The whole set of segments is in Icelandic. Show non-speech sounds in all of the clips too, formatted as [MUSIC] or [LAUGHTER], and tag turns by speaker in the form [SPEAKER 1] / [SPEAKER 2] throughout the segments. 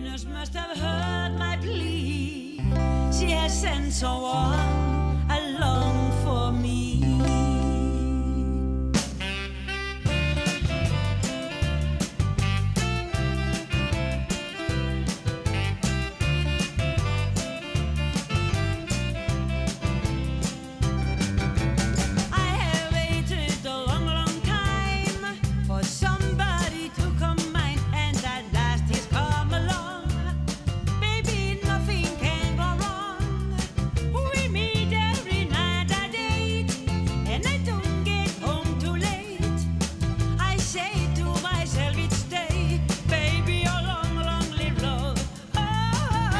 [SPEAKER 1] nurse must have heard my plea. She has sent someone along for me. I have waited a long, long time for somebody to come mine, and at last he's come along. Baby, nothing can go wrong. We meet every night I date, and I don't get home too late. I say to myself each day, baby, your long, long live love. Oh.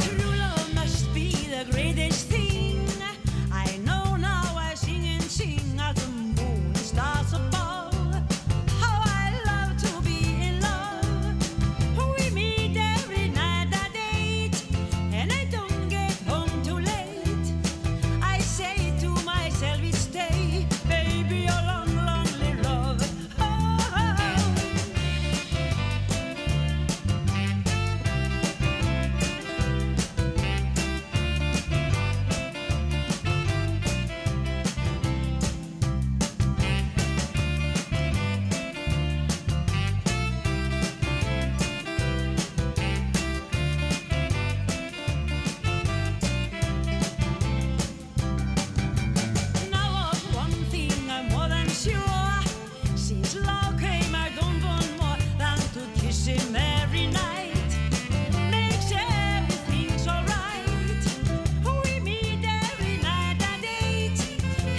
[SPEAKER 1] True love must be the greatest thing. I know now I sing and sing at the moon and stars above. How I love to be in love. We meet every night at eight, and I don't get home too late. I say to myself each day, baby, your long, long live love. Oh. Now of one thing I'm more than sure. Since love came, I don't want more than to kiss him every night. Makes everything so right. We meet every night at eight,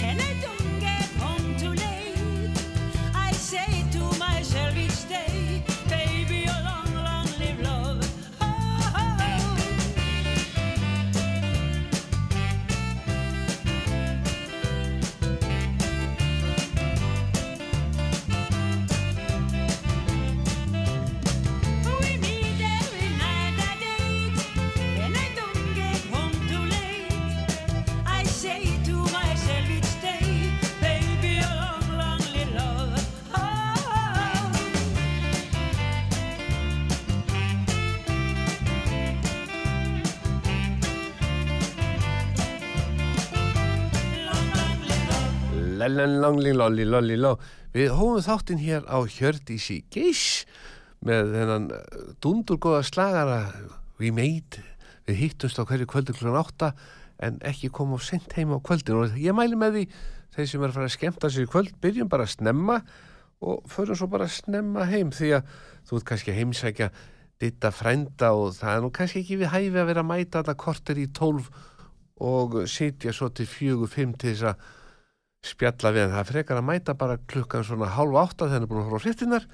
[SPEAKER 1] and I don't get home too late. I say to myself each day, baby, a long, long live love. Oh. We meet every night at eight, and I don't get home too late. I say to myself each day, baby, a long, long live love. Oh. Long, long live love.
[SPEAKER 2] Lellenlangliloliloliló Við hófum þáttinn hér á Hjördísi Geiss með þennan eh, dundurgóða slagara We Made Við hittumst á hverju kvöldu klukkan átta en ekki koma of sent heim á kvöldin og ég mæli með því þeir sem er að fara að skemmta sér í kvöld byrjum bara að snemma og förum svo bara að snemma heim því að þú ert kannski að heimsækja ditta frænda og það er nú kannski ekki við hæfi að vera að mæta alla korter í tólf og sitja svo til fjögur fimm til þess að spjalla við en það er frekar að mæta bara klukkan svona hálf átta þegar hann er búin að horfa á fréttinnar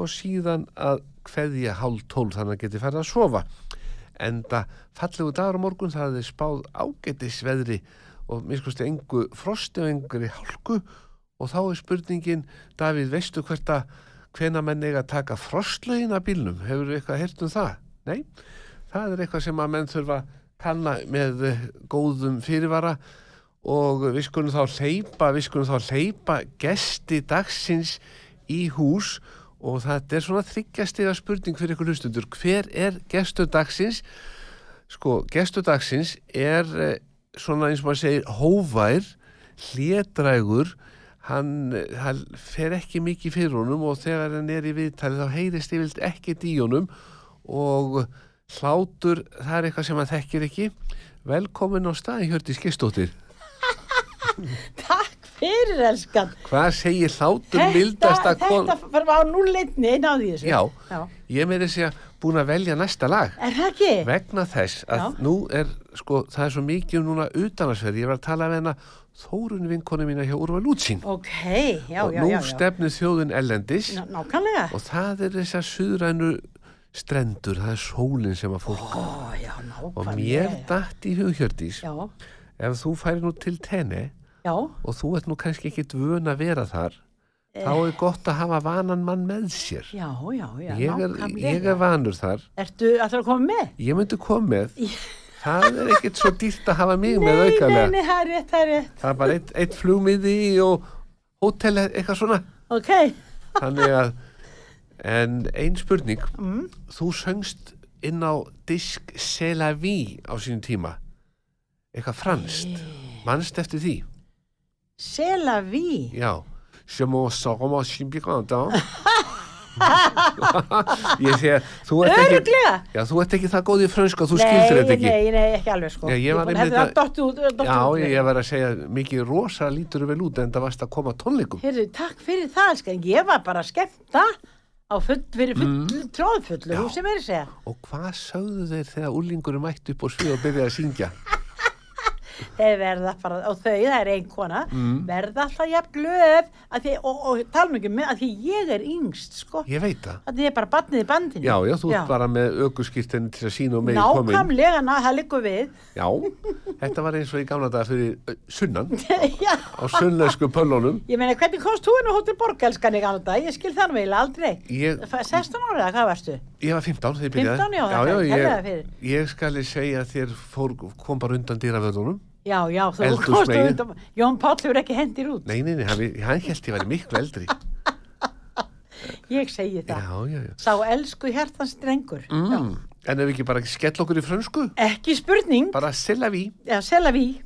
[SPEAKER 2] og síðan að kveðja hálf tólf þannig að geti færð að sofa enda fallegu dagur á morgun það hefði spáð ágætisveðri og miskusti engu frosti og engri hálku og þá er spurningin Davíð, veistu hvert að hvena menn eiga að taka frostlögin af bílnum, hefur við eitthvað heyrt um það? Nei, það er eitthvað sem að menn þurfa að kanna með eh, góðum fyrirvara og við skulum þá hleypa við skulum þá hleypa gesti dagsins í hús og þetta er svona þryggjastega spurning fyrir ykkur hlustundur, hver er gestur dagsins sko, gestur dagsins er eh, svona eins og maður segir hóvær hlédrægur hann, eh, hann fer ekki mikið fyrir honum og þegar hann er í viðtalið þá heyrist yfirlt ekkert í honum og hlátur, það er eitthvað sem hann þekkir ekki velkomin á staði Hjördís Gistóttir
[SPEAKER 3] Takk fyrir, elskan.
[SPEAKER 2] Hvað segir hlátur mildasta kon...
[SPEAKER 3] Þetta fyrir á núleitni, náði ég þessu.
[SPEAKER 2] Já,
[SPEAKER 3] Já.
[SPEAKER 2] ég meiri segja búin að velja næsta lag
[SPEAKER 3] Er það ekki?
[SPEAKER 2] vegna þess að
[SPEAKER 3] Já.
[SPEAKER 2] nú er sko, það er svo mikið um núna utanarsverð ég var að tala við hana Þórun vinkonu mína hjá Úrval Útsín
[SPEAKER 3] Ok, já,
[SPEAKER 2] og
[SPEAKER 3] já,
[SPEAKER 2] nú
[SPEAKER 3] já. já.
[SPEAKER 2] stefnir þjóðin ellendis
[SPEAKER 3] Ná- Nákvæmlega.
[SPEAKER 2] og það er þessar suðrænu strendur, það er sólin sem að fólk
[SPEAKER 3] Ó, já,
[SPEAKER 2] og
[SPEAKER 3] nákvæmlega.
[SPEAKER 2] mér datt í hughjördís
[SPEAKER 3] Já,
[SPEAKER 2] ef þú færi nú til tenni
[SPEAKER 3] já,
[SPEAKER 2] og þú ert nú kannski ekki dvun að vera þar þá er gott að hafa vanan mann með sér
[SPEAKER 3] já, já, Eh. já,
[SPEAKER 2] ég er,
[SPEAKER 3] nákvæmlega.
[SPEAKER 2] ég er vanur þar
[SPEAKER 3] Ertu að það koma með?
[SPEAKER 2] ég myndi komið það er ekkert svo dýrt að hafa mig með aukalega
[SPEAKER 3] nei, nei, það er rétt, það er rétt.
[SPEAKER 2] það er bara eitt, eitt flugmiði og hótel eða eitthvað svona
[SPEAKER 3] Ok, [LAUGHS]
[SPEAKER 2] þannig að en ein spurning þú söngst inn á disk C'est la vie á sínum tíma eitthvað franskt mannst eftir því
[SPEAKER 3] sela ví.
[SPEAKER 2] Já, je m'en sors mon chimbirant,
[SPEAKER 3] [LAUGHS]
[SPEAKER 2] Ég sé að þú ert ekki,
[SPEAKER 3] Öruglega.
[SPEAKER 2] já, þú ert ekki það góð í frönsk og þú skildir þetta ekki.
[SPEAKER 3] Nei, nei, ekki alveg sko.
[SPEAKER 2] Já, ég var einmitt
[SPEAKER 3] að...
[SPEAKER 2] að-
[SPEAKER 3] Dottu út, dottu
[SPEAKER 2] Já,
[SPEAKER 3] út.
[SPEAKER 2] ég var að segja, mikið rosa lítur vel út en það varst að koma á tónleikum.
[SPEAKER 3] Heyrðu, takk fyrir það, skan. Ég var bara að skemmta á full, fyrir full, mm. tróðfullu,
[SPEAKER 2] Já.
[SPEAKER 3] þú sem er að segja.
[SPEAKER 2] Og hvað sögðu þeir þegar úlingurum mætti upp og svið og byrjaði að syngja?
[SPEAKER 3] Þeir verða bara, og þau, það er ein kona,
[SPEAKER 2] Mm.
[SPEAKER 3] verða alltaf jafn glöð, að því, og, og tala nú ekki með, að því ég er yngst, sko.
[SPEAKER 2] Ég veit það.
[SPEAKER 3] Að því ég er bara barnið í bandinu.
[SPEAKER 2] Já, já, þú ert bara með ökuskýrtinni til að sína og megi komin.
[SPEAKER 3] Nákvæmlega, ná, það liggur við.
[SPEAKER 2] Já, þetta var eins og í gamla daga fyrir ö, sunnan,
[SPEAKER 3] [LAUGHS] já.
[SPEAKER 2] á sunnlesku pöllunum.
[SPEAKER 3] Ég meina, hvernig komst þú inn á Hótel Borg, elskan í gamla dag? Ég skil það nú eiginlega aldrei.
[SPEAKER 2] Ég,
[SPEAKER 3] F- 16 ára, eða hvað varstu?
[SPEAKER 2] Ég var 15 þegar ég byrjaði.
[SPEAKER 3] 15, já,
[SPEAKER 2] já,
[SPEAKER 3] þakka þér kærlega
[SPEAKER 2] ég,
[SPEAKER 3] fyrir.
[SPEAKER 2] ég skali segja að þér fór, kom bara undan dýravörðunum.
[SPEAKER 3] Já, já, þú
[SPEAKER 2] Eldhúsmegin.
[SPEAKER 3] komst þú undan. Jón Páll hefur ekki hendir út.
[SPEAKER 2] Nei, nei, nei, hann, hann held ég væri miklu eldri.
[SPEAKER 3] Ég segi
[SPEAKER 2] já,
[SPEAKER 3] það.
[SPEAKER 2] já, já.
[SPEAKER 3] Sá elsku hjartans drengur.
[SPEAKER 2] Mm. En ef við ekki bara skell okkur í frönsku,
[SPEAKER 3] Ekki spurning,
[SPEAKER 2] bara silla við.
[SPEAKER 3] eða sela við.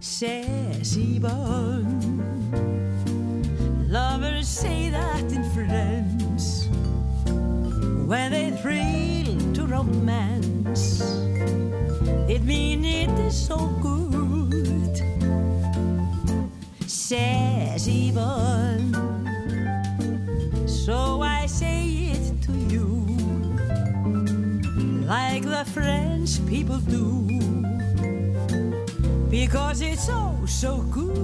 [SPEAKER 1] says Yvonne. Lovers say that in friends when they thrill to romance. It mean it is so good, says Yvonne. So I say it to you, like the French people do because it's so so good.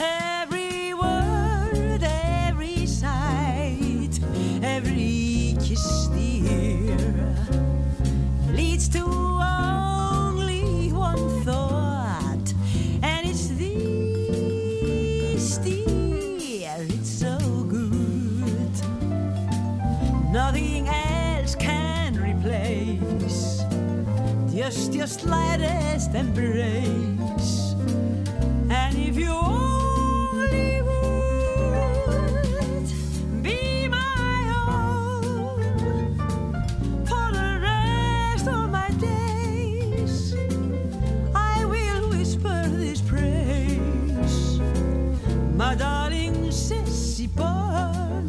[SPEAKER 1] Every word, every sight, every kiss, dear, leads to only one thought, and it's this, dear. It's so good. Nothing else can replace just your slightest embrace. And if you only would be my own for the rest of my days, I will whisper this praise. My darling Sissy Bun.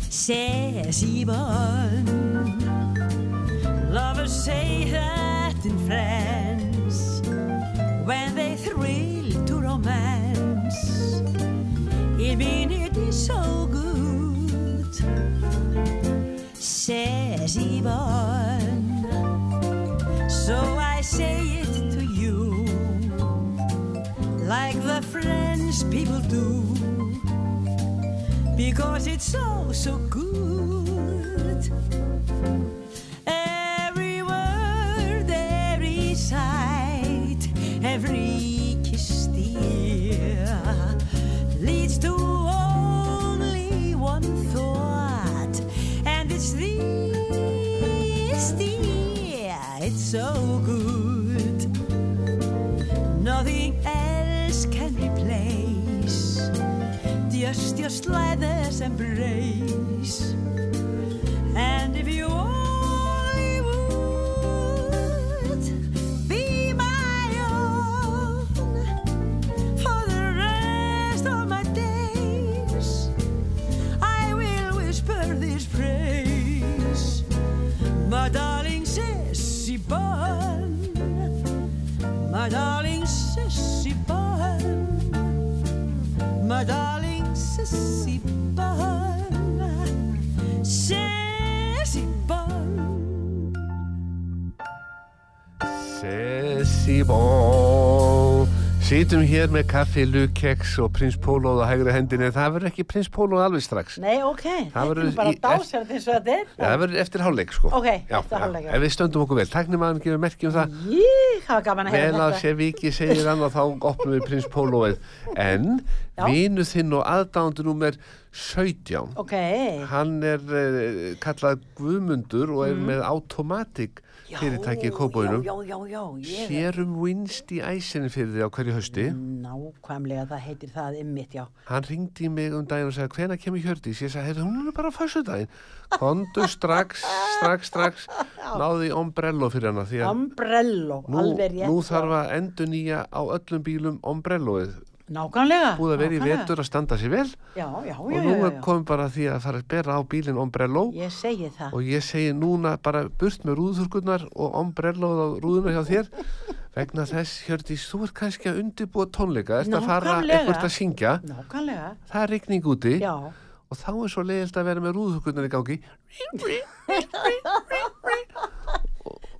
[SPEAKER 1] says Yvonne. Lovers say that in France when they thrill to romance. It mean it is so good, says Yvonne. So I say it to you the friends people do because it's so so good every word every sight every kiss dear leads to only one thought and it's this dear it's so good Nothing else can replace Just, just let us embrace And if you only would Be my own For the rest of my days I will whisper this praise My darling Sissy Bun my darling sissy bun, my darling sissy bun, sissy bun.
[SPEAKER 2] Sessi bó Sýtum hér með kaffi, lukeks og prins Pólóð á hægri hendinni en það verður ekki prins Pólóð alveg strax
[SPEAKER 3] Nei, ok, þetta
[SPEAKER 2] verður
[SPEAKER 3] er bara
[SPEAKER 2] í-
[SPEAKER 3] dásar eins og þetta er.
[SPEAKER 2] Ja, það verður eftir hálfleik sko
[SPEAKER 3] Ok,
[SPEAKER 2] já,
[SPEAKER 3] eftir hálfleik,
[SPEAKER 2] já.
[SPEAKER 3] já.
[SPEAKER 2] Ef við stöndum okkur vel, tæknimaðurinn gefur merki um það
[SPEAKER 3] Í, það var gaman að
[SPEAKER 2] Vel
[SPEAKER 3] heyra
[SPEAKER 2] að
[SPEAKER 3] hérna þetta.
[SPEAKER 2] sé viki segir hann og þá opnum við prins Pólóið En
[SPEAKER 3] Já.
[SPEAKER 2] vinu þinn og aðdándu númer 17
[SPEAKER 3] Ok,
[SPEAKER 2] Hann er uh, kallað Guðmundur og er með automatic
[SPEAKER 3] Mhm. Já,
[SPEAKER 2] fyrirtæki í kópauðinum
[SPEAKER 3] Já, já, já, já, ég Mhm.
[SPEAKER 2] Sérum vinst í æsinni fyrir því á hverju hausti
[SPEAKER 3] Nákvæmlega, það heitir það ymmit, já.
[SPEAKER 2] Hann ringdi í mig um daginn og sagði hvena kemur Hjördís? Ég sagði, heyrðu, hún er bara á föstudaginn. Kondu strax, strax, strax, náði í ombrello fyrir hana því að
[SPEAKER 3] Umbrello,
[SPEAKER 2] nú,
[SPEAKER 3] alveg rétt.
[SPEAKER 2] nú þarf að endur nýja á öllum bílum ombrelloið.
[SPEAKER 3] Nákvæmlega.
[SPEAKER 2] Búið að vera í
[SPEAKER 3] nákvæmlega.
[SPEAKER 2] vetur að standa sér vel
[SPEAKER 3] Já, já, já,
[SPEAKER 2] og
[SPEAKER 3] já,
[SPEAKER 2] nú er
[SPEAKER 3] já.
[SPEAKER 2] komið bara því að fara að bera á bílinn ombrello
[SPEAKER 3] Ég segi það.
[SPEAKER 2] og ég segi núna bara burt með rúðurkurnar og ombrelloð á rúðuna hjá þér vegna þess, Hjördís, þú ert kannski að undirbúa tónleika, eftir að fara
[SPEAKER 3] Nákvæmlega.
[SPEAKER 2] eitthvað að syngja,
[SPEAKER 3] Nákvæmlega,
[SPEAKER 2] það er rigning úti
[SPEAKER 3] já.
[SPEAKER 2] og þá er svo leiðilt að vera með rúðhugunnar í gangi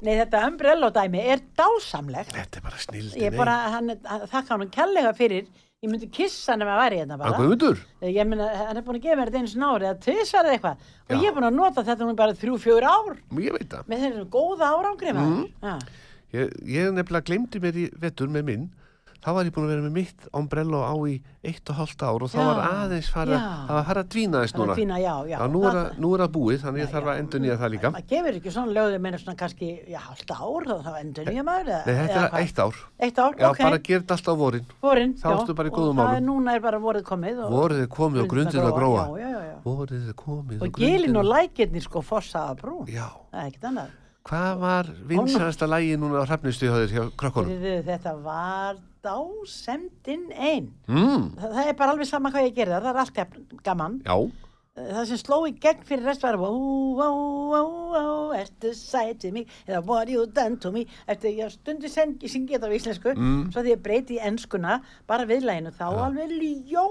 [SPEAKER 3] Nei, þetta umbrello dæmi er dásamlegt.
[SPEAKER 2] þetta er bara snildi
[SPEAKER 3] Ég bara, hann, er- hann- þakka hann kellega fyrir. Ég myndi kissa hann ef að væri hérna bara.
[SPEAKER 2] Guðmundur,
[SPEAKER 3] Ég meina, hann er búin að gefa mér þetta eins og nári eða tvisvar eða eitthvað. Og
[SPEAKER 2] Já.
[SPEAKER 3] ég er búin að nota þetta nú bara þrjú, fjör ár.
[SPEAKER 2] ég veit það
[SPEAKER 3] Með þeirra góða árangri maður. Mm.
[SPEAKER 2] ég, ég nefnilega glemdi mér í vettur með minn þá var ég búin að vera með mitt ombrello á í eitt og hálft ár og þá
[SPEAKER 3] Já,
[SPEAKER 2] var aðeins fara
[SPEAKER 3] já.
[SPEAKER 2] það var fara að dvína þess
[SPEAKER 3] Það
[SPEAKER 2] núna
[SPEAKER 3] er fína, já, já.
[SPEAKER 2] nú, er að, nú er að búið, þannig ég þarf að endur nýja það líka
[SPEAKER 3] Maður gefur ekki svona lögðu meina svona kannski, já, halvt ár, þá- þá endur nýja maður. eða-
[SPEAKER 2] Nei, þetta
[SPEAKER 3] eða
[SPEAKER 2] er
[SPEAKER 3] hvað?
[SPEAKER 2] eitt ár
[SPEAKER 3] Eitt ár,
[SPEAKER 2] Já,
[SPEAKER 3] ok.
[SPEAKER 2] bara gerð þetta alltaf á vorin
[SPEAKER 3] Vorin,
[SPEAKER 2] Þá ertu bara í
[SPEAKER 3] og
[SPEAKER 2] góðum
[SPEAKER 3] það
[SPEAKER 2] málum.
[SPEAKER 3] er- Núna er bara vorið komið. og-
[SPEAKER 2] Vorið er komið og grundið
[SPEAKER 3] Grundirnar
[SPEAKER 2] að gróa
[SPEAKER 3] Já, já, já. já.
[SPEAKER 2] Vorið er komið
[SPEAKER 3] Og gilin og
[SPEAKER 2] grundirnar-
[SPEAKER 3] lækirnir sko fossa að brú.
[SPEAKER 2] Já,
[SPEAKER 3] Það er ekkert annað.
[SPEAKER 2] hvað var vinsarasta lægi núna á hrafnistuðhjóðir hjá krökkunum?
[SPEAKER 3] Heyrðu, Þetta var dásemdin einn.
[SPEAKER 2] Mm,
[SPEAKER 3] Þa- Það er bara alveg sama hvað ég gerði, það er allt jafn gaman.
[SPEAKER 2] já
[SPEAKER 3] Það sem sló í gegn fyrir rest var Ó, ó, ó, ó, ertu sætið mig eða what you done to me eftir ég stundi sengi syngi þetta á íslensku
[SPEAKER 2] Mm.
[SPEAKER 3] svo því ég breyti í enskuna bara viðlæginu þá alveg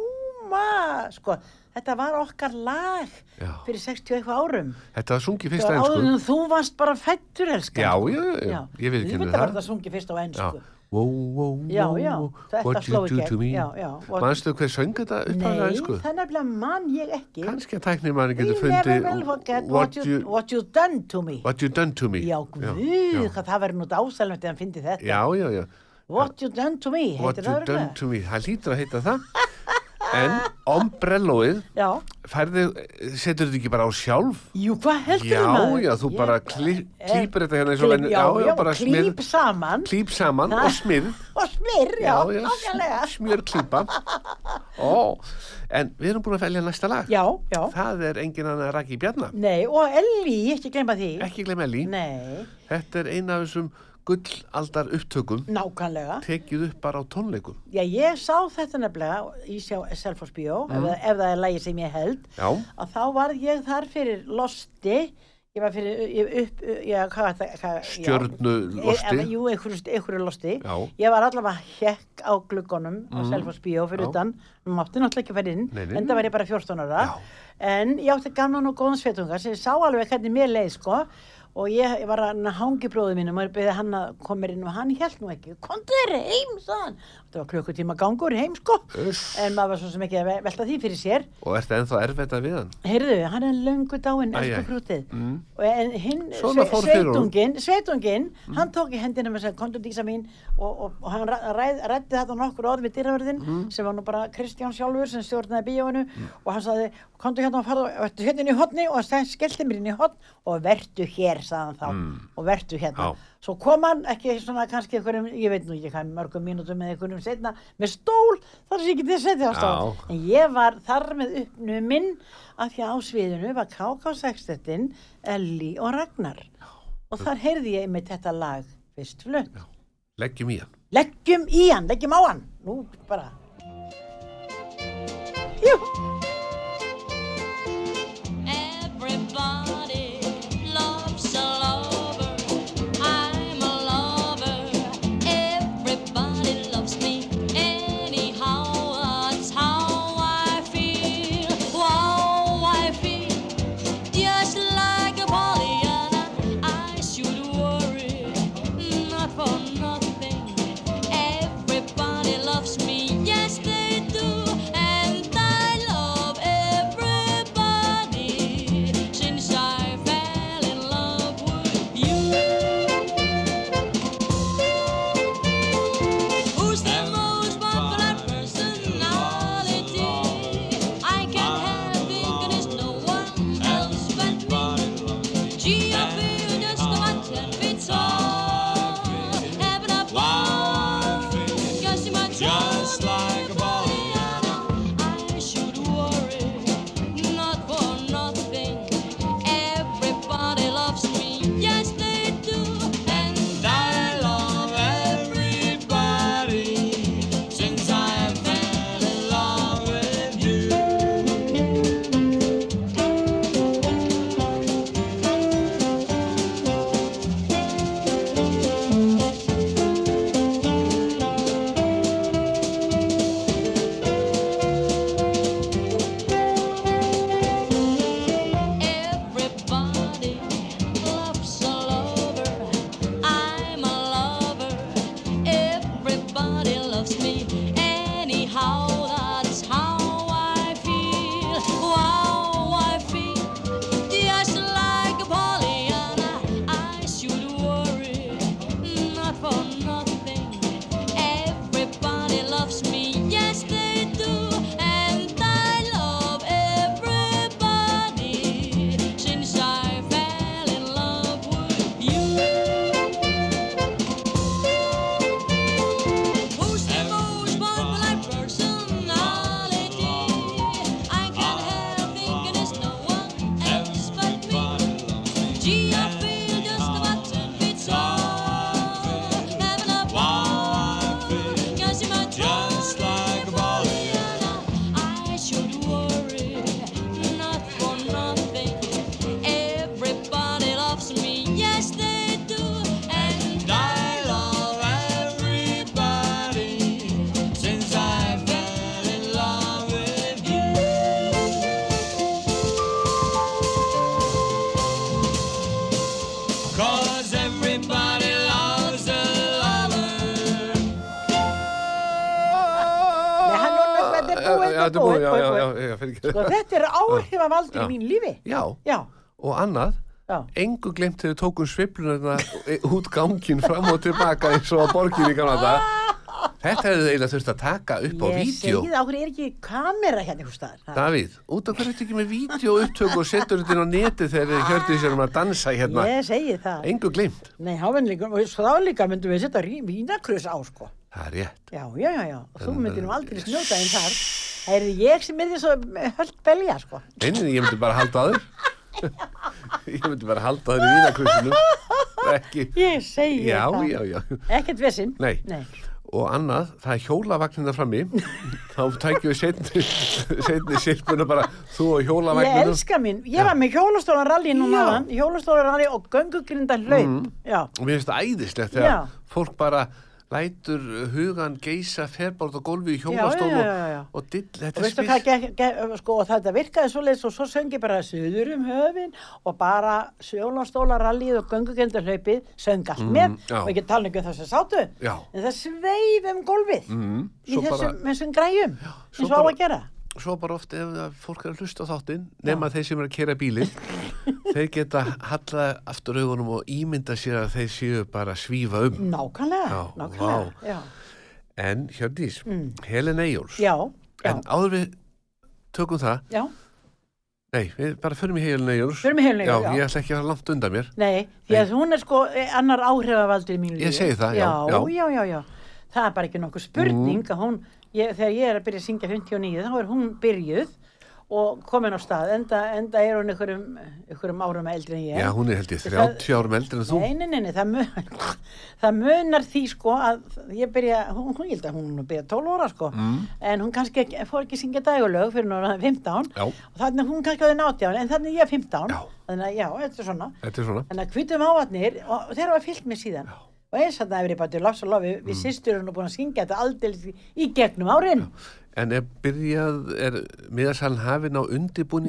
[SPEAKER 3] ljóma sko, þetta var okkar lag
[SPEAKER 2] Já.
[SPEAKER 3] fyrir 60 eitthvað árum
[SPEAKER 2] Þetta var sungið
[SPEAKER 3] það
[SPEAKER 2] fyrst á
[SPEAKER 3] var áður
[SPEAKER 2] ennsku.
[SPEAKER 3] en þú varst bara fættur elskan
[SPEAKER 2] Já, já, já, já, ég
[SPEAKER 3] Þú
[SPEAKER 2] viðurkenni
[SPEAKER 3] veit að
[SPEAKER 2] það.
[SPEAKER 3] var það sungi fyrst á
[SPEAKER 2] Já,
[SPEAKER 3] ennsku
[SPEAKER 2] wow, wow,
[SPEAKER 3] Já,
[SPEAKER 2] wow,
[SPEAKER 3] já, þetta
[SPEAKER 2] what
[SPEAKER 3] sló
[SPEAKER 2] you
[SPEAKER 3] í
[SPEAKER 2] do
[SPEAKER 3] gegn,
[SPEAKER 2] to me.
[SPEAKER 3] já, já, what-
[SPEAKER 2] Manstu hver söng þetta upp á
[SPEAKER 3] Nei,
[SPEAKER 2] það ennsku?
[SPEAKER 3] það er nefnilega mann ég ekki
[SPEAKER 2] Kanski að tæknir mann
[SPEAKER 3] We
[SPEAKER 2] getur
[SPEAKER 3] never
[SPEAKER 2] fundið
[SPEAKER 3] will forget
[SPEAKER 2] what, you,
[SPEAKER 3] what you done to me
[SPEAKER 2] what you done to me.
[SPEAKER 3] Já,
[SPEAKER 2] já,
[SPEAKER 3] guð, hvað það verður nú dásalum eftir að hann fyndi þetta.
[SPEAKER 2] já, já, já.
[SPEAKER 3] What you done to me,
[SPEAKER 2] What
[SPEAKER 3] heitir
[SPEAKER 2] you done
[SPEAKER 3] það örugglega.
[SPEAKER 2] to me, það lítur að heita það. En ombrelloið,
[SPEAKER 3] Já,
[SPEAKER 2] færði, setur þetta ekki bara á sjálf?
[SPEAKER 3] jú, hvað heldur
[SPEAKER 2] Já,
[SPEAKER 3] maður?
[SPEAKER 2] já, þú
[SPEAKER 3] Ég
[SPEAKER 2] bara
[SPEAKER 3] bara-
[SPEAKER 2] klí-
[SPEAKER 3] Eh,
[SPEAKER 2] klípir þetta hérna eins og
[SPEAKER 3] klí-
[SPEAKER 2] venju-
[SPEAKER 3] Já,
[SPEAKER 2] já, já,
[SPEAKER 3] já,
[SPEAKER 2] bara smyrð.
[SPEAKER 3] klíp saman
[SPEAKER 2] Klíp saman
[SPEAKER 3] Það-
[SPEAKER 2] og smyrð.
[SPEAKER 3] og smyrr, já, nákvæmlega.
[SPEAKER 2] smjörklípa. Ó, en við erum búin að velja næsta lag.
[SPEAKER 3] Já, já,
[SPEAKER 2] Það er engin annað en Raki Bjarnar.
[SPEAKER 3] nei, og Elli, ekki glemma því.
[SPEAKER 2] Ekki glem Elí.
[SPEAKER 3] Nei,
[SPEAKER 2] Þetta er eina af þessum gullaldar upptökum
[SPEAKER 3] nákvæmlega.
[SPEAKER 2] tekið upp bara á tónleikum.
[SPEAKER 3] Já, ég sá þetta nefnilega í sjá Selfossbjó, mm. ef, ef það er lægi sem ég held.
[SPEAKER 2] Já.
[SPEAKER 3] að þá var ég þar fyrir losti ég var fyrir ég, upp, ég, hvað, var það- hvað, já.
[SPEAKER 2] Stjörnulosti.
[SPEAKER 3] Eh, eh, jú, einhverju, einhverju losti
[SPEAKER 2] Já. Mhm.
[SPEAKER 3] ég var allavega hekk á gluggunum á Selfoss bíó fyrir
[SPEAKER 2] Já.
[SPEAKER 3] utan Nú mátti náttúrulega ekki færi inn
[SPEAKER 2] Nei, nei.
[SPEAKER 3] en það var ég bara 14 ára
[SPEAKER 2] Já.
[SPEAKER 3] en ég átti gamlan og góðan svetunga sem ég sá alveg hvernig mér leið sko og ég, ég var að hangi bróðu mínum og beðið hann að koma mér inn og hann held nú ekki komdu þér heim, sann þetta var klukkutíma gangur heim, sko
[SPEAKER 2] Uss.
[SPEAKER 3] en maður var svo sem ekki að ve- velta því fyrir sér
[SPEAKER 2] Og ertu ennþá erfitt að við hann?
[SPEAKER 3] heyrðu, hann er löngu
[SPEAKER 2] Æ,
[SPEAKER 3] dáinn,
[SPEAKER 2] æ.
[SPEAKER 3] elsku brútið
[SPEAKER 2] Mm.
[SPEAKER 3] og en hinn,
[SPEAKER 2] Svona fór fyrir honum.
[SPEAKER 3] sveitungin sveitungin, hann tók í hendina með þess að kondur dísa mín og, og, og hann ræ- ræð, ræddi þetta nokkur orð við dýravörðin
[SPEAKER 2] Mhm.
[SPEAKER 3] sem var nú bara Kristján sjálfur sem stjórnaði bíóinu og hann sagði, kondur hérna og farðu og vertu hérna inn í hotni og hann skellti mér inn í hotn og vertu hér, sagði hann þá og vertu hérna,
[SPEAKER 2] Mhm. Já.
[SPEAKER 3] svo kom hann ekki svona kannski einhverjum, ég veit nú ekki hvað mörgum mínútum með einhverjum setna, með stól þar sem ég getið að setja á stól
[SPEAKER 2] Já.
[SPEAKER 3] en ég var þar með uppnuminn af því að á sviðinu var KK6-tettin Elli og Ragnar og þar heyrði ég einmitt þetta lag fyrst flönd.
[SPEAKER 2] Leggjum í hann.
[SPEAKER 3] Leggjum í hann, leggjum á hann nú bara Jú,
[SPEAKER 4] Everybody loves a lover. I'm a lover. Everybody loves me. Anyhow, that's how I feel. Wow, I feel just like a Pollyanna. I should worry, not for nothing. Everybody loves me, yes they do, and I love everybody since I fell in love with you. Who's the most popular personality? I can't help thinking it's no one else but me. Gee, I feel just about ten feet tall. Having a ball, guessing my
[SPEAKER 5] Just like a
[SPEAKER 4] Pollyanna. I should worry, not for nothing. Everybody loves me, yes they do, and I love everybody.
[SPEAKER 5] Since I fell in love with you,
[SPEAKER 4] Everybody loves a lover. I'm a lover. Everybody loves me. Anyhow, that's how I feel. Wow, I feel just like a Pollyanna. I should worry, not for nothing. Everybody loves me, yes they do, and I love everybody since I fell in love with you. Who's the most popular personality? I can't help thinking it's no one else but me.
[SPEAKER 5] everybody loves me.
[SPEAKER 4] Gee, I feel just about ten feet tall. Having a
[SPEAKER 5] Wow, I feel
[SPEAKER 4] ball. Guess you might
[SPEAKER 5] just like a Pollyanna.
[SPEAKER 4] I should worry, not for nothing. Everybody loves me, yes they do, and I
[SPEAKER 5] I
[SPEAKER 4] love
[SPEAKER 5] love everybody since I fell in love with you. Cause everybody loves a lover.
[SPEAKER 3] Nei, hann er orðinn- þetta
[SPEAKER 2] Já, þetta er
[SPEAKER 3] er búið, þetta er
[SPEAKER 2] búið,
[SPEAKER 3] búið,
[SPEAKER 2] já,
[SPEAKER 3] búið,
[SPEAKER 2] já,
[SPEAKER 3] búið.
[SPEAKER 2] já, já, fyrir ekki.
[SPEAKER 3] sko, þetta er áhrif af
[SPEAKER 2] Já.
[SPEAKER 3] aldrei mín lífi
[SPEAKER 2] Já,
[SPEAKER 3] Já,
[SPEAKER 2] og annað,
[SPEAKER 3] já
[SPEAKER 2] engu glemt þegar við tókum sveiflunarna út gangin fram og tilbaka eins og að borgin í gamla þetta. Þetta hefði eiginlega þurft að taka upp á
[SPEAKER 3] Ég segi
[SPEAKER 2] vídeo.
[SPEAKER 3] það, okkur er ekki kamera hérna einhvers staðar Ha?
[SPEAKER 2] Davíð, út af hverju ertu ekki með vídeo upptöku og setur þetta inn á neti þegar þið hjörðu sér um að dansa hérna?
[SPEAKER 3] Ég segi það
[SPEAKER 2] Engu glemt.
[SPEAKER 3] Nei, hávenleika, og svo þá líka myndum við setja rí- vínakrus á, sko.
[SPEAKER 2] Það er rétt.
[SPEAKER 3] Já, já, já, já, og þú myndir nú aldrei snjóta einn þar. Það er ég sem myndi svo höllt belja, sko.
[SPEAKER 2] Einnig, ég myndi bara halda að þér. [LAUGHS] ég myndi bara halda að þér í vínakrusinu. Ekki.
[SPEAKER 3] Ég segi
[SPEAKER 2] Já,
[SPEAKER 3] það.
[SPEAKER 2] já, já.
[SPEAKER 3] Ekkert vesinn.
[SPEAKER 2] Nei.
[SPEAKER 3] Nei.
[SPEAKER 2] Og annað, það er hjólavagnina frammi. Þá tækjum við setni, setni sirpuna bara þú og
[SPEAKER 3] Ég
[SPEAKER 2] hjólavagnina.
[SPEAKER 3] elska mín. Ég var með hjólastólaralli núna
[SPEAKER 2] Já. Mm.
[SPEAKER 3] hann, hjólastólaralli og göngugrinda hlaup. Já,
[SPEAKER 2] Og mér finnst það æðislegt þegar
[SPEAKER 3] Já.
[SPEAKER 2] fólk bara lætur hugan geisa ferbárt á gólfi í
[SPEAKER 3] Já,
[SPEAKER 2] hjólastól
[SPEAKER 3] já, já, já.
[SPEAKER 2] og, og dill,
[SPEAKER 3] Og
[SPEAKER 2] þetta er
[SPEAKER 3] veistu
[SPEAKER 2] spil.
[SPEAKER 3] hvað, ge, ge, sko, og þetta virkaði svo leiðis og svo söngi bara söður um höfin og bara sjólastólarallið og göngugjöndarhlaupið söng allt með
[SPEAKER 2] Mm, já.
[SPEAKER 3] og ekki tala ekki um það sem sátu.
[SPEAKER 2] Já.
[SPEAKER 3] En það sveif um gólfið
[SPEAKER 2] Mm,
[SPEAKER 3] í
[SPEAKER 2] svo bara-
[SPEAKER 3] þessum, þessum græjum
[SPEAKER 2] svo
[SPEAKER 3] eins og á
[SPEAKER 2] bara-
[SPEAKER 3] að gera.
[SPEAKER 2] Svo bara oft ef það- fólk er að hlusta á þáttinn, nema þeir sem er að kera
[SPEAKER 3] [LAUGHS]
[SPEAKER 2] bílinn, þeir geta hallað aftur augunum og ímynda sér að þeir séu bara að svífa um.
[SPEAKER 3] Nákvæmlega,
[SPEAKER 2] Já,
[SPEAKER 3] nákvæmlega.
[SPEAKER 2] vá.
[SPEAKER 3] Já,
[SPEAKER 2] En Hjördís, Helen Eyjóls,
[SPEAKER 3] já, já,
[SPEAKER 2] en áður við tökum það,
[SPEAKER 3] já.
[SPEAKER 2] nei, við bara förum í Helen Eyjóls.
[SPEAKER 3] Förum í Helen Eyjólfs,
[SPEAKER 2] já.
[SPEAKER 3] já.
[SPEAKER 2] ég ætla ekki að fara langt undan mér.
[SPEAKER 3] Nei, því að hún er sko eh, annar áhrifavaldur í mínu lífi.
[SPEAKER 2] Ég segi það, já,
[SPEAKER 3] Já,
[SPEAKER 2] já. Mm.
[SPEAKER 3] já, já, já. Það er bara ekki nokkuð spurning að hún, ég, þegar ég er að byrja að syngja 59, þá er hún byrjuð og komin á stað, enda, enda er hún ykkurum, ykkurum árum eldri en ég.
[SPEAKER 2] Já, hún er held ég 30 árum eldri en þú.
[SPEAKER 3] Nei, nei, nei, nei það, mun, [LAUGHS] það munar því sko að ég byrja, hún, hún ég held að hún byrja 12 óra sko,
[SPEAKER 2] Mm.
[SPEAKER 3] en hún kannski ekki, fór ekki að syngja dagulög fyrir hún var 15
[SPEAKER 2] Já.
[SPEAKER 3] og þannig að hún kannski að þau nátti án, en þannig að ég er 15,
[SPEAKER 2] Já.
[SPEAKER 3] þannig að já, þetta er svona.
[SPEAKER 2] Þetta er svona.
[SPEAKER 3] Þannig að hvítum ávatnir og þeir hafa fyllt mig síðan. Og eins að það hefur ég bara til lafs og lofi við mm. sýsturinn og búin að syngja þetta aldeilis í- í gegnum árin.
[SPEAKER 2] En er byrjað, er miðasalinn hafinn á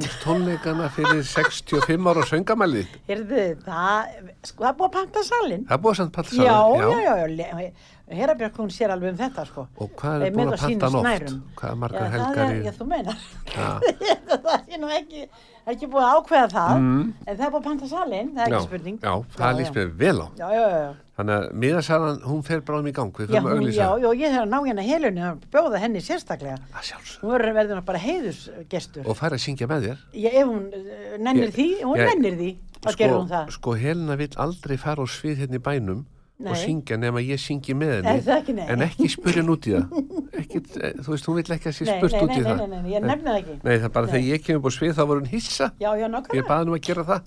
[SPEAKER 2] undirbúningstónleikana fyrir 65 ára söngamælið?
[SPEAKER 3] Hérðu, það, sko, það er búið að panta salin.
[SPEAKER 2] Það er búið að samt panta
[SPEAKER 3] Já, já, já,
[SPEAKER 2] já.
[SPEAKER 3] já, já. Hera Björk, hún sér alveg um þetta, sko.
[SPEAKER 2] Og hvað er
[SPEAKER 3] Eh,
[SPEAKER 2] búin
[SPEAKER 3] með
[SPEAKER 2] að
[SPEAKER 3] á sínum
[SPEAKER 2] panta hann oft?
[SPEAKER 3] snærum.
[SPEAKER 2] Hvað er margar
[SPEAKER 3] Já, það
[SPEAKER 2] helgar
[SPEAKER 3] er-
[SPEAKER 2] í-
[SPEAKER 3] Já, þú meinar.
[SPEAKER 2] Já.
[SPEAKER 3] [LAUGHS] það er nú ekki, það er ekki búið að ákveða það, en það er búið að panta salin, það er
[SPEAKER 2] Mm. Já,
[SPEAKER 3] ekki spurning.
[SPEAKER 2] já, það líst mér vel á.
[SPEAKER 3] Já, já, já, já.
[SPEAKER 2] Þannig að miðasalan, hún fer bráðum í gang, við
[SPEAKER 3] Já,
[SPEAKER 2] þurfum að
[SPEAKER 3] hún,
[SPEAKER 2] auglýsa.
[SPEAKER 3] já, já, ég þarf að ná hérna helunni og bjóða henni sérstaklega.
[SPEAKER 2] Að sjálfsög.
[SPEAKER 3] Hún verður verður bara heiðusgestur.
[SPEAKER 2] Og fær að syngja með þér.
[SPEAKER 3] Já, ef hún eh, nennir
[SPEAKER 2] Ég-
[SPEAKER 3] því, hún
[SPEAKER 2] ég-
[SPEAKER 3] nennir því, þá gerur hún það.
[SPEAKER 2] Sko, Helena vill aldrei fara á svið hérna í bænum og
[SPEAKER 3] Nei.
[SPEAKER 2] syngja nema ég syngi með henni.
[SPEAKER 3] Er það ekki, nei?
[SPEAKER 2] En ekki spurja hann út í það. Ekki, eh, þú veist, hún vill ekki að sé
[SPEAKER 3] Nei,
[SPEAKER 2] spurt
[SPEAKER 3] nei,
[SPEAKER 2] út í
[SPEAKER 3] nei,
[SPEAKER 2] það.
[SPEAKER 3] nei, nei, nei, ég nefni það ekki.
[SPEAKER 2] Nei, það er bara
[SPEAKER 3] Nei.
[SPEAKER 2] þegar ég kemur upp á svið þá var hún hissa.
[SPEAKER 3] Já, já,
[SPEAKER 2] Ég
[SPEAKER 3] nákvæmlega.
[SPEAKER 2] baði nú að gera það.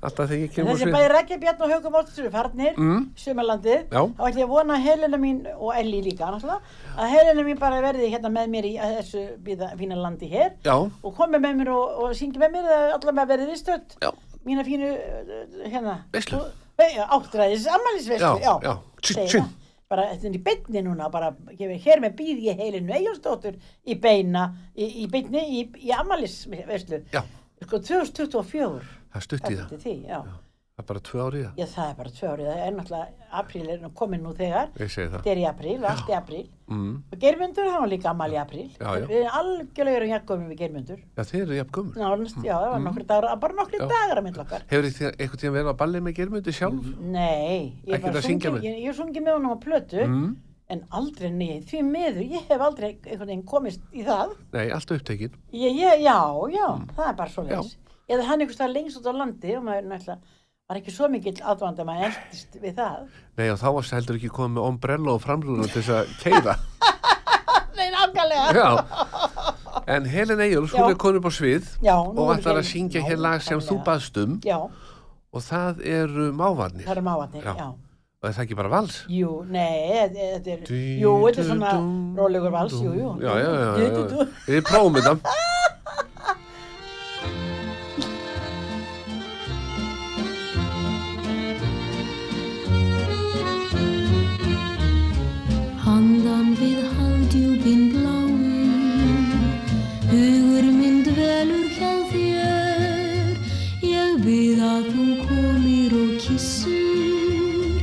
[SPEAKER 2] Alltaf þegar ég kemur upp á
[SPEAKER 3] Þessi
[SPEAKER 2] svið.
[SPEAKER 3] bæði Rækja Bjarn og Haugum Óttur farnir, mm. sumarlandið,
[SPEAKER 2] Já.
[SPEAKER 3] þá ætlum ég að vona að Helena mín og Elli líka, náttúrulega, að Helena mín bara verði hérna með mér í þessu býða, fína landi hér
[SPEAKER 2] Já,
[SPEAKER 3] og komi með mér og, og syngi með mér eða allavega með verðið í stödd,
[SPEAKER 2] já,
[SPEAKER 3] mína fínu, uh, hérna,
[SPEAKER 2] Veislu.
[SPEAKER 3] og- Nei, já, áttræðis, ammælisveislu,
[SPEAKER 2] Já, já. Tjinn,
[SPEAKER 3] segi
[SPEAKER 2] tjinn.
[SPEAKER 3] það. bara þetta er í beinni núna, bara, ég, hér með býð ég Helenu Eyjólfsdóttur í beina, í, í beinni, í, í ammælisveislu,
[SPEAKER 2] já,
[SPEAKER 3] sko 2024,
[SPEAKER 2] það stutti það.
[SPEAKER 3] eftir því, já.
[SPEAKER 2] Það er bara tvö árið það.
[SPEAKER 3] Já, það er bara tvö árið, það er náttúrulega apríl er nú komin nú þegar,
[SPEAKER 2] Ég segi það.
[SPEAKER 3] þetta er í apríl, allt í apríl
[SPEAKER 2] Mm.
[SPEAKER 3] og Geirmundur, hann var líka amal í apríl
[SPEAKER 2] Já, já.
[SPEAKER 3] við erum algjörlega erum jakkumum við Geirmundur
[SPEAKER 2] Já, þeir eru jafn gömur.
[SPEAKER 3] Nánast, já, það var nokkri dagar, bara nokkri
[SPEAKER 2] Mm. Já.
[SPEAKER 3] dagar að myndla okkar
[SPEAKER 2] Hefur þið eitthvað tíma verið á balli með germyndu sjálf?
[SPEAKER 3] Nei, ég
[SPEAKER 2] Ekkert að syngja með? Mm.
[SPEAKER 3] ég, ég sungi með honum á plötu en aldrei nýð, því miður ég hef aldrei einhvern veginn komist í það
[SPEAKER 2] Nei, alltaf upptekinn.
[SPEAKER 3] ég, ég, Já, já,
[SPEAKER 2] Mm.
[SPEAKER 3] það er bara svo leis eða hann einhvers það lengst út á landi og maður náttúrulega var ekki svo mikill aðvand að maður eldist við það [LAUGHS]
[SPEAKER 2] Nei, og þá varst heldur ekki komið með ombrella og framrúna til þess að
[SPEAKER 3] [LAUGHS]
[SPEAKER 2] keyra.
[SPEAKER 3] Nei, nákvæmlega
[SPEAKER 2] Já. En Helen Eyjólfs,
[SPEAKER 3] Já.
[SPEAKER 2] hún er komin upp á svið
[SPEAKER 3] Já, nú
[SPEAKER 2] og
[SPEAKER 3] er
[SPEAKER 2] ætlar að
[SPEAKER 3] Helen-
[SPEAKER 2] syngja
[SPEAKER 3] Já,
[SPEAKER 2] hér lag sem þú
[SPEAKER 3] nákvæmlega.
[SPEAKER 2] baðst um
[SPEAKER 3] Já,
[SPEAKER 2] og það eru mávarnir.
[SPEAKER 3] það eru mávatnir,
[SPEAKER 2] Já.
[SPEAKER 3] já.
[SPEAKER 2] Og er það ekki bara vals?
[SPEAKER 3] Jú, nei, e- e- þetta er,
[SPEAKER 2] Dú,
[SPEAKER 3] jú, þetta er
[SPEAKER 2] dú,
[SPEAKER 3] svona
[SPEAKER 2] dú,
[SPEAKER 3] rólegur vals,
[SPEAKER 2] dú.
[SPEAKER 3] jú, jú.
[SPEAKER 2] Já, já, já. já,
[SPEAKER 3] Dú, dú,
[SPEAKER 2] já.
[SPEAKER 3] dú.
[SPEAKER 2] Við prófum þetta.
[SPEAKER 5] Handan við haldjúbin bláin Hugur minn dvelur hjá þér Ég bið að þú komir og kissir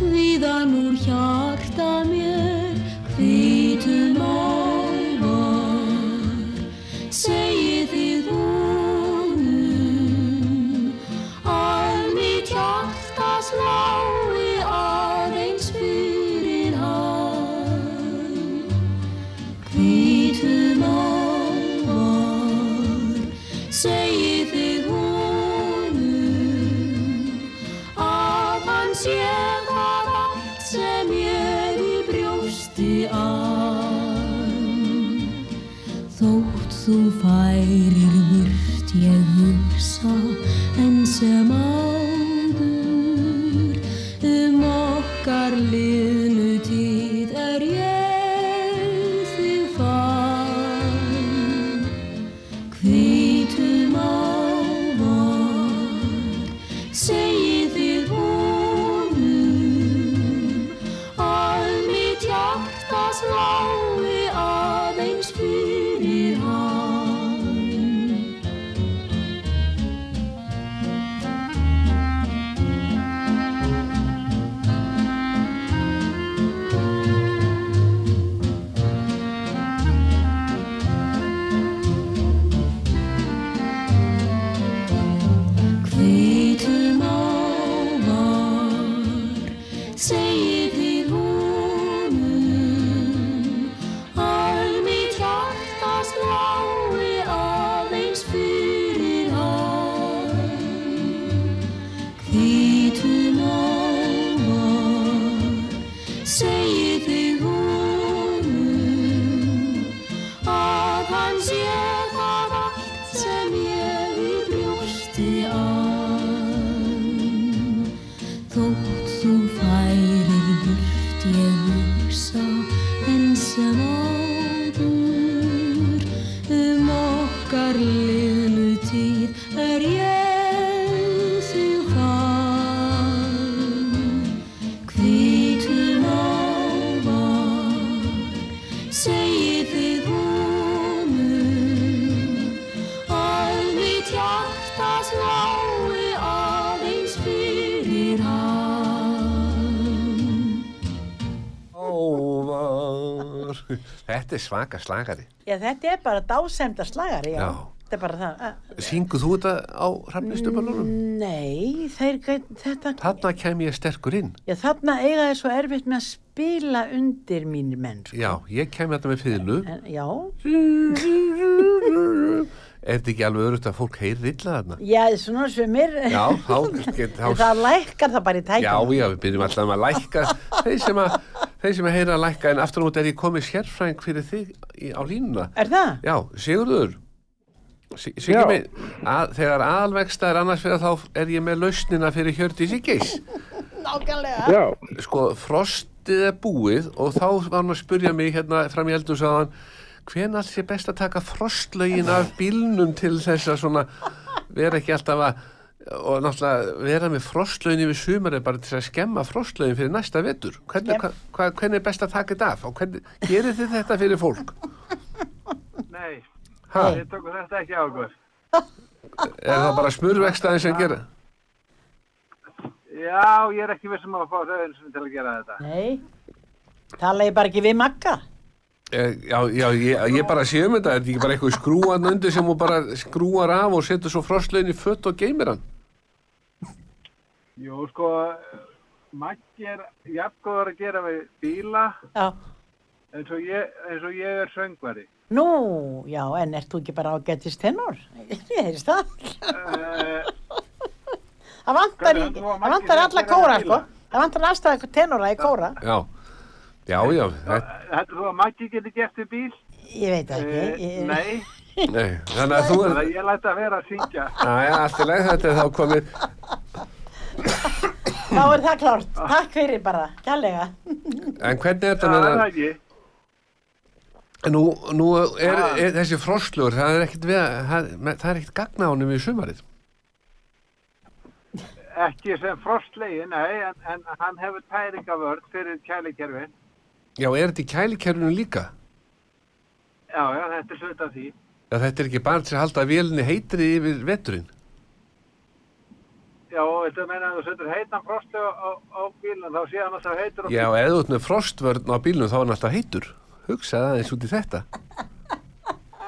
[SPEAKER 5] Hvíðan úr hjarta mér Hvítum ávar Segið þið honum Að mitt hjarta slái aðeins fyrir hann Hvítum ávar Segið þið honum Að hann sé það allt sem ég í brjósti ann Þótt þú færir vurt ég hugsa en sem áður um okkar liðnu tíð er ég þig fann hvítum ávar segið þið honum að mér það slái aðeins fyrir hann. Hvítur mávar segir þig honum að mitt hjarta slái aðeins fyrir hann. Hvítur mávar segir þig honum að hann sé það allt sem ég í brjósti ann. Þótt þú færir burt ég hugsa enn sem áður um okkar liðnu tíð er ég þig fann. Hvítur mávar segið þið honum að mitt hjarta slái aðeins fyrir hann.
[SPEAKER 2] Ávar Þetta er svaka slagari
[SPEAKER 3] Já, þetta er bara dásemda slagari, já.
[SPEAKER 2] Já.
[SPEAKER 3] Þetta er bara það. að-
[SPEAKER 2] Syngu þú þetta á hrafnistubalunum?
[SPEAKER 3] Nei, þeir, gæt- þetta,
[SPEAKER 2] Þarna kem ég sterkur inn
[SPEAKER 3] já, þarna eiga þeir svo erfitt með að spila undir mínir menn, sko.
[SPEAKER 2] Já, ég kem þetta með fyrðinu
[SPEAKER 3] En, já,
[SPEAKER 2] Er þetta ekki alveg örugt að fólk heyri illa þarna?
[SPEAKER 3] já, svona sumir.
[SPEAKER 2] Já, þá, get,
[SPEAKER 3] [LAUGHS] En
[SPEAKER 2] þá
[SPEAKER 3] það lækkar það bara í tækjum.
[SPEAKER 2] Já, já, við byrjum alltaf um að lækka þeir sem að, þeir sem að heyra að lækka en aftur á móti er ég komið sérfræng fyrir þig í, á línuna
[SPEAKER 3] Er það?
[SPEAKER 2] Já, Sigurður Sig- Siggi
[SPEAKER 6] Já.
[SPEAKER 2] minn, að, þegar alvegsta er annars fyrir þá er ég með lausnina fyrir Hjördís í geis
[SPEAKER 6] Já,
[SPEAKER 2] Sko, frostið er búið og þá var hann að spurja mig hérna fram í eldur sagðan hven alls er best að taka frostlögin af bílnum til þess að svona vera ekki alltaf að og náttúrulega vera með frostlögin yfir sumari bara til að skemma frostlögin fyrir næsta vetur hvernig, hva, hva, hvernig er best að taka þetta af og hvernig, gerir þið þetta fyrir fólk
[SPEAKER 7] Nei,
[SPEAKER 2] ha,
[SPEAKER 7] við tökum þetta ekki á okkur.
[SPEAKER 2] er það bara smurvekstaðin sem gera
[SPEAKER 7] Já, ég er ekki vissum að fá rauðin sem til að gera þetta.
[SPEAKER 3] Nei, tala ég bara ekki við Magga.
[SPEAKER 2] Eh, Já, já, ég, ég bara sé um þetta, er þetta ekki bara eitthvað skrúan undir sem hún bara skrúar af og setur svo frostlögin í fött og geymir hann?
[SPEAKER 7] Jú, sko, Maggi er jafngóður að gera við bíla
[SPEAKER 3] Já.
[SPEAKER 7] eins og ég, eins og ég er söngvari.
[SPEAKER 3] Nú, já, en ert þú ekki bara ágættist tenor? [LAUGHS] Ég heyrist það.
[SPEAKER 7] Uh,
[SPEAKER 3] Það vantar, í,
[SPEAKER 7] Hvernig, þú var
[SPEAKER 3] það
[SPEAKER 7] margir
[SPEAKER 3] vantar
[SPEAKER 7] sem
[SPEAKER 3] alla
[SPEAKER 7] gera
[SPEAKER 3] kóra, sko.
[SPEAKER 7] bíla.
[SPEAKER 3] Það vantar alltaf tenora í kóra.
[SPEAKER 2] Já, já, já, þetta,
[SPEAKER 7] Heldur þú að Maggi geti gert við bíl?
[SPEAKER 3] Ég veit það
[SPEAKER 7] Uh,
[SPEAKER 3] ekki. Ég,
[SPEAKER 7] nei,
[SPEAKER 2] nei, þannig að þú er,
[SPEAKER 7] þannig að ég læta að vera að syngja.
[SPEAKER 2] aðja, allt í leið þetta er þá komið,
[SPEAKER 3] Þá er það klárt.
[SPEAKER 7] Ah.
[SPEAKER 3] Takk fyrir bara, kærlega.
[SPEAKER 2] en hvernig er þetta
[SPEAKER 7] Það
[SPEAKER 2] með
[SPEAKER 7] er það
[SPEAKER 2] það,
[SPEAKER 7] ekki.
[SPEAKER 2] nú, nú er, er þessi frostlögur, það er ekkit, við, það, það er ekkit gagna honum í sumarið.
[SPEAKER 7] Ekki sem frostlegin, nei, en, en hann hefur tæringavörð fyrir kælikerfin.
[SPEAKER 2] Já, er þetta í kælikerfinu líka?
[SPEAKER 7] Já, já, þetta er hluti af því.
[SPEAKER 2] Já, þetta er ekki bara til að halda vélinni heitri yfir veturinn.
[SPEAKER 7] Já, þetta meina að þú setur heitan frosti á, á, á bílinn, þá sé hann alltaf heitur á
[SPEAKER 2] Já, ef þú ert með frostvörn á bílnum þá er hann alltaf heitur. Hugsaði aðeins út í þetta.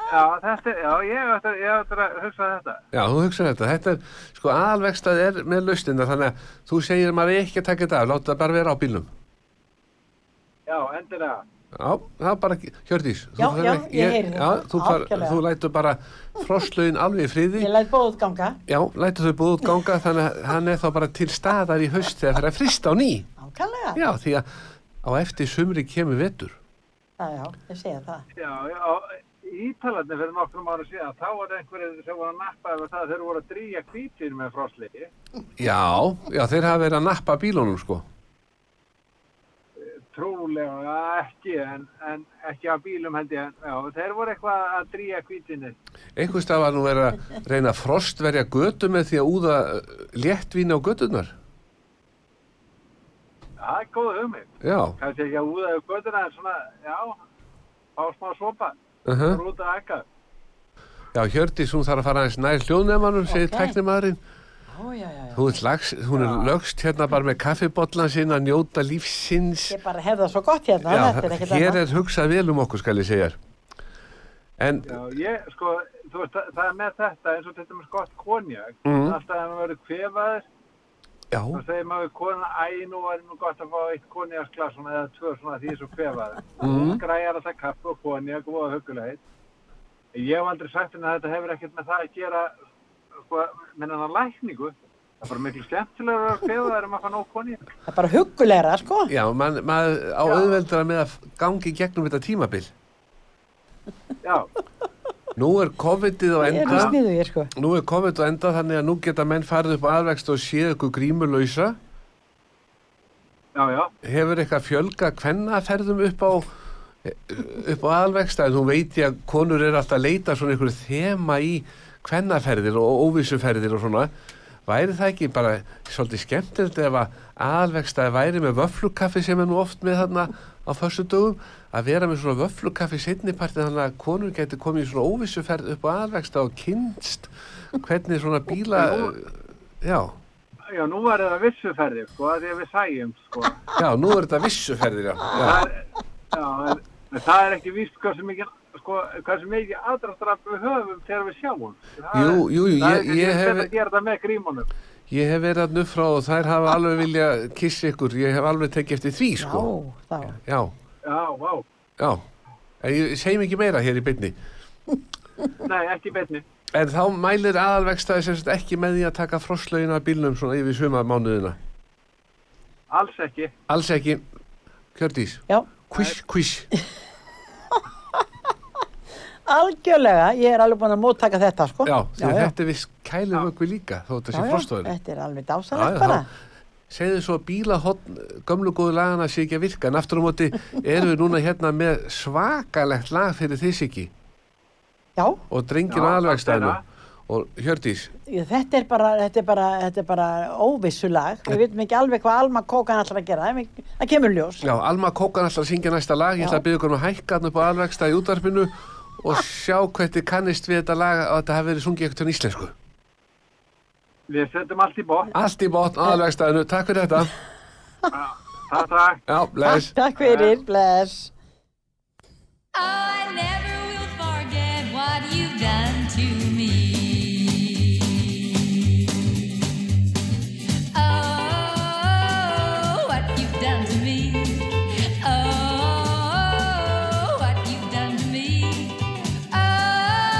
[SPEAKER 7] Já, þetta, er- já, ég ætti ég ætti að hugsa þetta.
[SPEAKER 2] Já, þú hugsaði þetta. Þetta er, sko, aðalvegstað er með lausnina, þannig að þú segir maður eigi ekki að taka þetta af, láta það bara vera á bílnum.
[SPEAKER 7] Já, endilega.
[SPEAKER 2] Já, það er bara, ekki- Hjördís. þú
[SPEAKER 3] Já,
[SPEAKER 2] þarf
[SPEAKER 3] já,
[SPEAKER 2] ekki-
[SPEAKER 3] ég heyri
[SPEAKER 2] Já,
[SPEAKER 3] það.
[SPEAKER 2] þú, far,
[SPEAKER 3] Algjörlega.
[SPEAKER 2] þú lætur bara frostlögin alveg í friði.
[SPEAKER 3] Ég læt bóð ganga.
[SPEAKER 2] Já, lætur þau búið út ganga, þannig að hann er þá bara til staðar í haust þegar það er að frista á ný.
[SPEAKER 3] Ákærlega. Já.
[SPEAKER 2] Já, því að á eftir sumri kemur vetur.
[SPEAKER 3] já, ég segja það.
[SPEAKER 7] Já, já, ítalarnir fyrir nokkrum ára síðan, þá var einhverjir sem voru að nappa yfir það, þeir voru að drýja hvítir með frostlegi.
[SPEAKER 2] Já, já, þeir hafa verið að nappa bílunum, sko.
[SPEAKER 7] Eh, Trúlega ekki, en, en ekki á bílum held ég, en já, þeir voru eitthvað að drýja hvítinni.
[SPEAKER 2] Einhvers stað var nú verið að reyna að frostverja eh, götu með því að úða léttvín á götunar.
[SPEAKER 7] Já, það er góð hugmynd.
[SPEAKER 2] Já,
[SPEAKER 7] Kannski ekki að úða yfir göttuna en svona, já, fá smá svopa,
[SPEAKER 2] uh
[SPEAKER 7] það er út að ekka.
[SPEAKER 2] já Hjördís, hún þarf að fara aðeins nær hljóðnemanum, segir
[SPEAKER 3] Ok.
[SPEAKER 2] okay. tæknimaðurinn.
[SPEAKER 3] Ó, já, já, já.
[SPEAKER 2] Hún, er lags, hún er lögst hérna bara með kaffibotlan sinn að njóta lífsins.
[SPEAKER 3] Ég bara hef það svo gott hérna,
[SPEAKER 2] Já,
[SPEAKER 3] þetta er ekkert
[SPEAKER 2] hér
[SPEAKER 3] annað.
[SPEAKER 2] er hugsað vel um okkur, skal ég segja. þér. En,
[SPEAKER 7] Já, ég, sko, þú veist, það, það er með þetta eins og þetta með skott konjak,
[SPEAKER 2] Mhm.
[SPEAKER 7] alltaf þegar maður verður kvefaður,
[SPEAKER 2] já,
[SPEAKER 7] þá segir maður við konan, æ, nú er nú gott að fá eitt konjaksglas svona eða tvö svona því ég er svo kvefaður.
[SPEAKER 2] Mhm.
[SPEAKER 7] Græjar alltaf kaffi og konjak og hugulegt. Ég hef aldrei sagt henni að þetta hefur ekkert með það að gera, sko, með hennar lækningu. Það er bara miklu skemmtilega að vera kvefaður um að fá nóg konjak.
[SPEAKER 3] Það er bara huggulegra, sko.
[SPEAKER 2] já mann- maður á auðveldara með að gangi gegnum þetta tímabil.
[SPEAKER 7] Já,
[SPEAKER 2] Nú er COVID-ið á
[SPEAKER 3] Ég er
[SPEAKER 2] enda.
[SPEAKER 3] í sniðu, ég sko.
[SPEAKER 2] Nú er COVID á enda þannig að nú geta menn farið upp á aðvegst og séð ykkur grímulausa.
[SPEAKER 7] já, já.
[SPEAKER 2] Hefur eitthvað fjölga kvennaferðum upp á e, upp á aðalvegsta en þú veit ég að konur er alltaf að leita svona ykkur þema í kvennaferðir og óvissuferðir og svona væri það ekki bara svolítið skemmtilegt ef að aðalvegsta væri með vöflukaffi sem er nú oft með þarna á föstudögum að vera með svona vöflukaffi setniparti þannig að konur getur komið í svona óvissuferð upp á aðalvegsta og kynst hvernig svona bíla já,
[SPEAKER 7] Já, nú var það vissuferði, sko, af því að við sæjum, sko.
[SPEAKER 2] já, nú er þetta vissuferðir já, já,
[SPEAKER 7] Já, en, en það er ekki víst hversu mikið, sko, hversu mikið aðdraftraf við höfum þegar við sjáum. Það er-
[SPEAKER 2] Jú, jú, jú,
[SPEAKER 7] það er
[SPEAKER 2] ég-
[SPEAKER 7] ekki
[SPEAKER 2] ég
[SPEAKER 7] rétt
[SPEAKER 2] hef-
[SPEAKER 7] að gera það með grímunum.
[SPEAKER 2] Ég hef verið að nuffra og þær hafa alveg vilja kissa ykkur, ég hef alveg tekið eftir því
[SPEAKER 3] Já,
[SPEAKER 2] sko.
[SPEAKER 3] þá.
[SPEAKER 2] Já,
[SPEAKER 7] Já, vá.
[SPEAKER 2] já. En ég segjum ekki meira hér í byrni.
[SPEAKER 7] Nei, ekki betni.
[SPEAKER 2] En þá mælir aðalvegstaði sem sagt ekki með því að taka frosslaugina af bílnum svona yfir sumarmánuðina.
[SPEAKER 7] Alls ekki.
[SPEAKER 2] Alls ekki. Kjördís.
[SPEAKER 3] Já,
[SPEAKER 2] Kvís, kvís.
[SPEAKER 3] algjörlega, ég er alveg búin að móttaka þetta, sko.
[SPEAKER 2] Já, því þetta er viss kælum ökvi líka þó þetta
[SPEAKER 3] Já,
[SPEAKER 2] sé
[SPEAKER 3] já,
[SPEAKER 2] frosslaugina.
[SPEAKER 3] Þetta er alveg
[SPEAKER 2] Já,
[SPEAKER 3] dásalegt
[SPEAKER 2] já,
[SPEAKER 3] bara.
[SPEAKER 2] þá- Segðu svo að bílahotn gömlu góðu lagana sé ekki að virka en aftur á móti erum við núna hérna með svakalegt lag fyrir þess ekki
[SPEAKER 3] Já,
[SPEAKER 2] og drengir
[SPEAKER 7] Já,
[SPEAKER 2] aðalvegstaðinu.
[SPEAKER 7] það er
[SPEAKER 2] Og Hjördís,
[SPEAKER 3] ég- þetta er bara, þetta er bara, þetta er bara óvissulag. Við veitum ekki alveg hvað Alma Kókan ætlar að gera, en við- það kemur í ljós.
[SPEAKER 2] Já, Alma Kókan ætlar að syngja næsta lag, ég ætla að byggja ykkur um að hækka hann upp á alvegsta í útvarpinu og sjá hvernig kannist við þetta lag að þetta hafi verið sungið eitthvað íslensku.
[SPEAKER 7] Við setjum allt í
[SPEAKER 2] [LAUGHS]
[SPEAKER 7] bótt.
[SPEAKER 2] Allt í botn aðalvegstaðinu, takk fyrir þetta.
[SPEAKER 7] Það, það.
[SPEAKER 2] Já, bless.
[SPEAKER 3] [LAUGHS] Takk fyrir, bless.
[SPEAKER 8] Oh, I never will forget what you've done to me. Oh, what you've done to me. Oh, what you've done to me. Oh,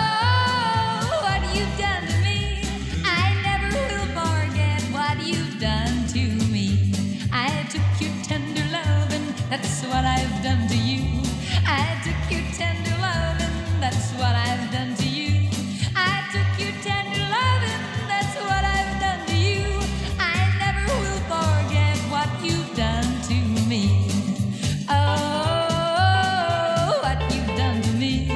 [SPEAKER 8] what you've done to me. I never will forget what you've done to me. I took your tender love and that's what I've done to you. I took your tender love and that's what I've done to you. I took your tender love and that's what I've done to you. I never will forget what you've done to me. Oh, what you've done to me.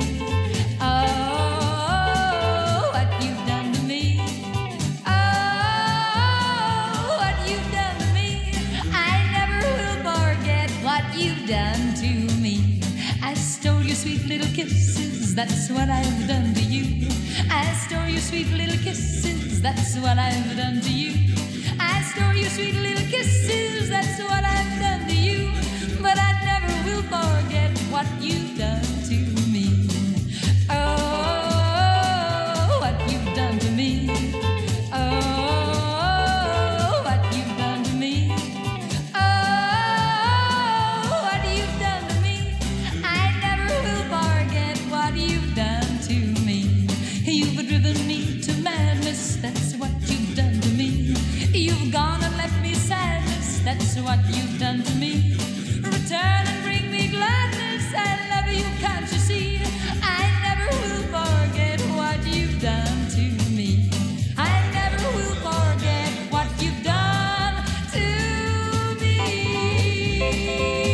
[SPEAKER 8] Oh, what you've done to me. Oh, what you've done to me. I never will forget what you've done to me. I stole your sweet little kisses, that's what I've done to you. I stole your sweet little kisses, that's what I've done to you. I stole your sweet little kisses, that's what I've done to you. But I never will forget what you've done to me. Oh, what you've done to me. Oh, what you've done to me. Oh, what you've done to me. I never will forget what you've done to me. You've driven me to madness, that's what you've done to me. You've gone and left me sadness, that's what you've done to me. Return and bring me gladness, I love you, can't you see? I never will forget what you've done to me. I never will forget what you've done to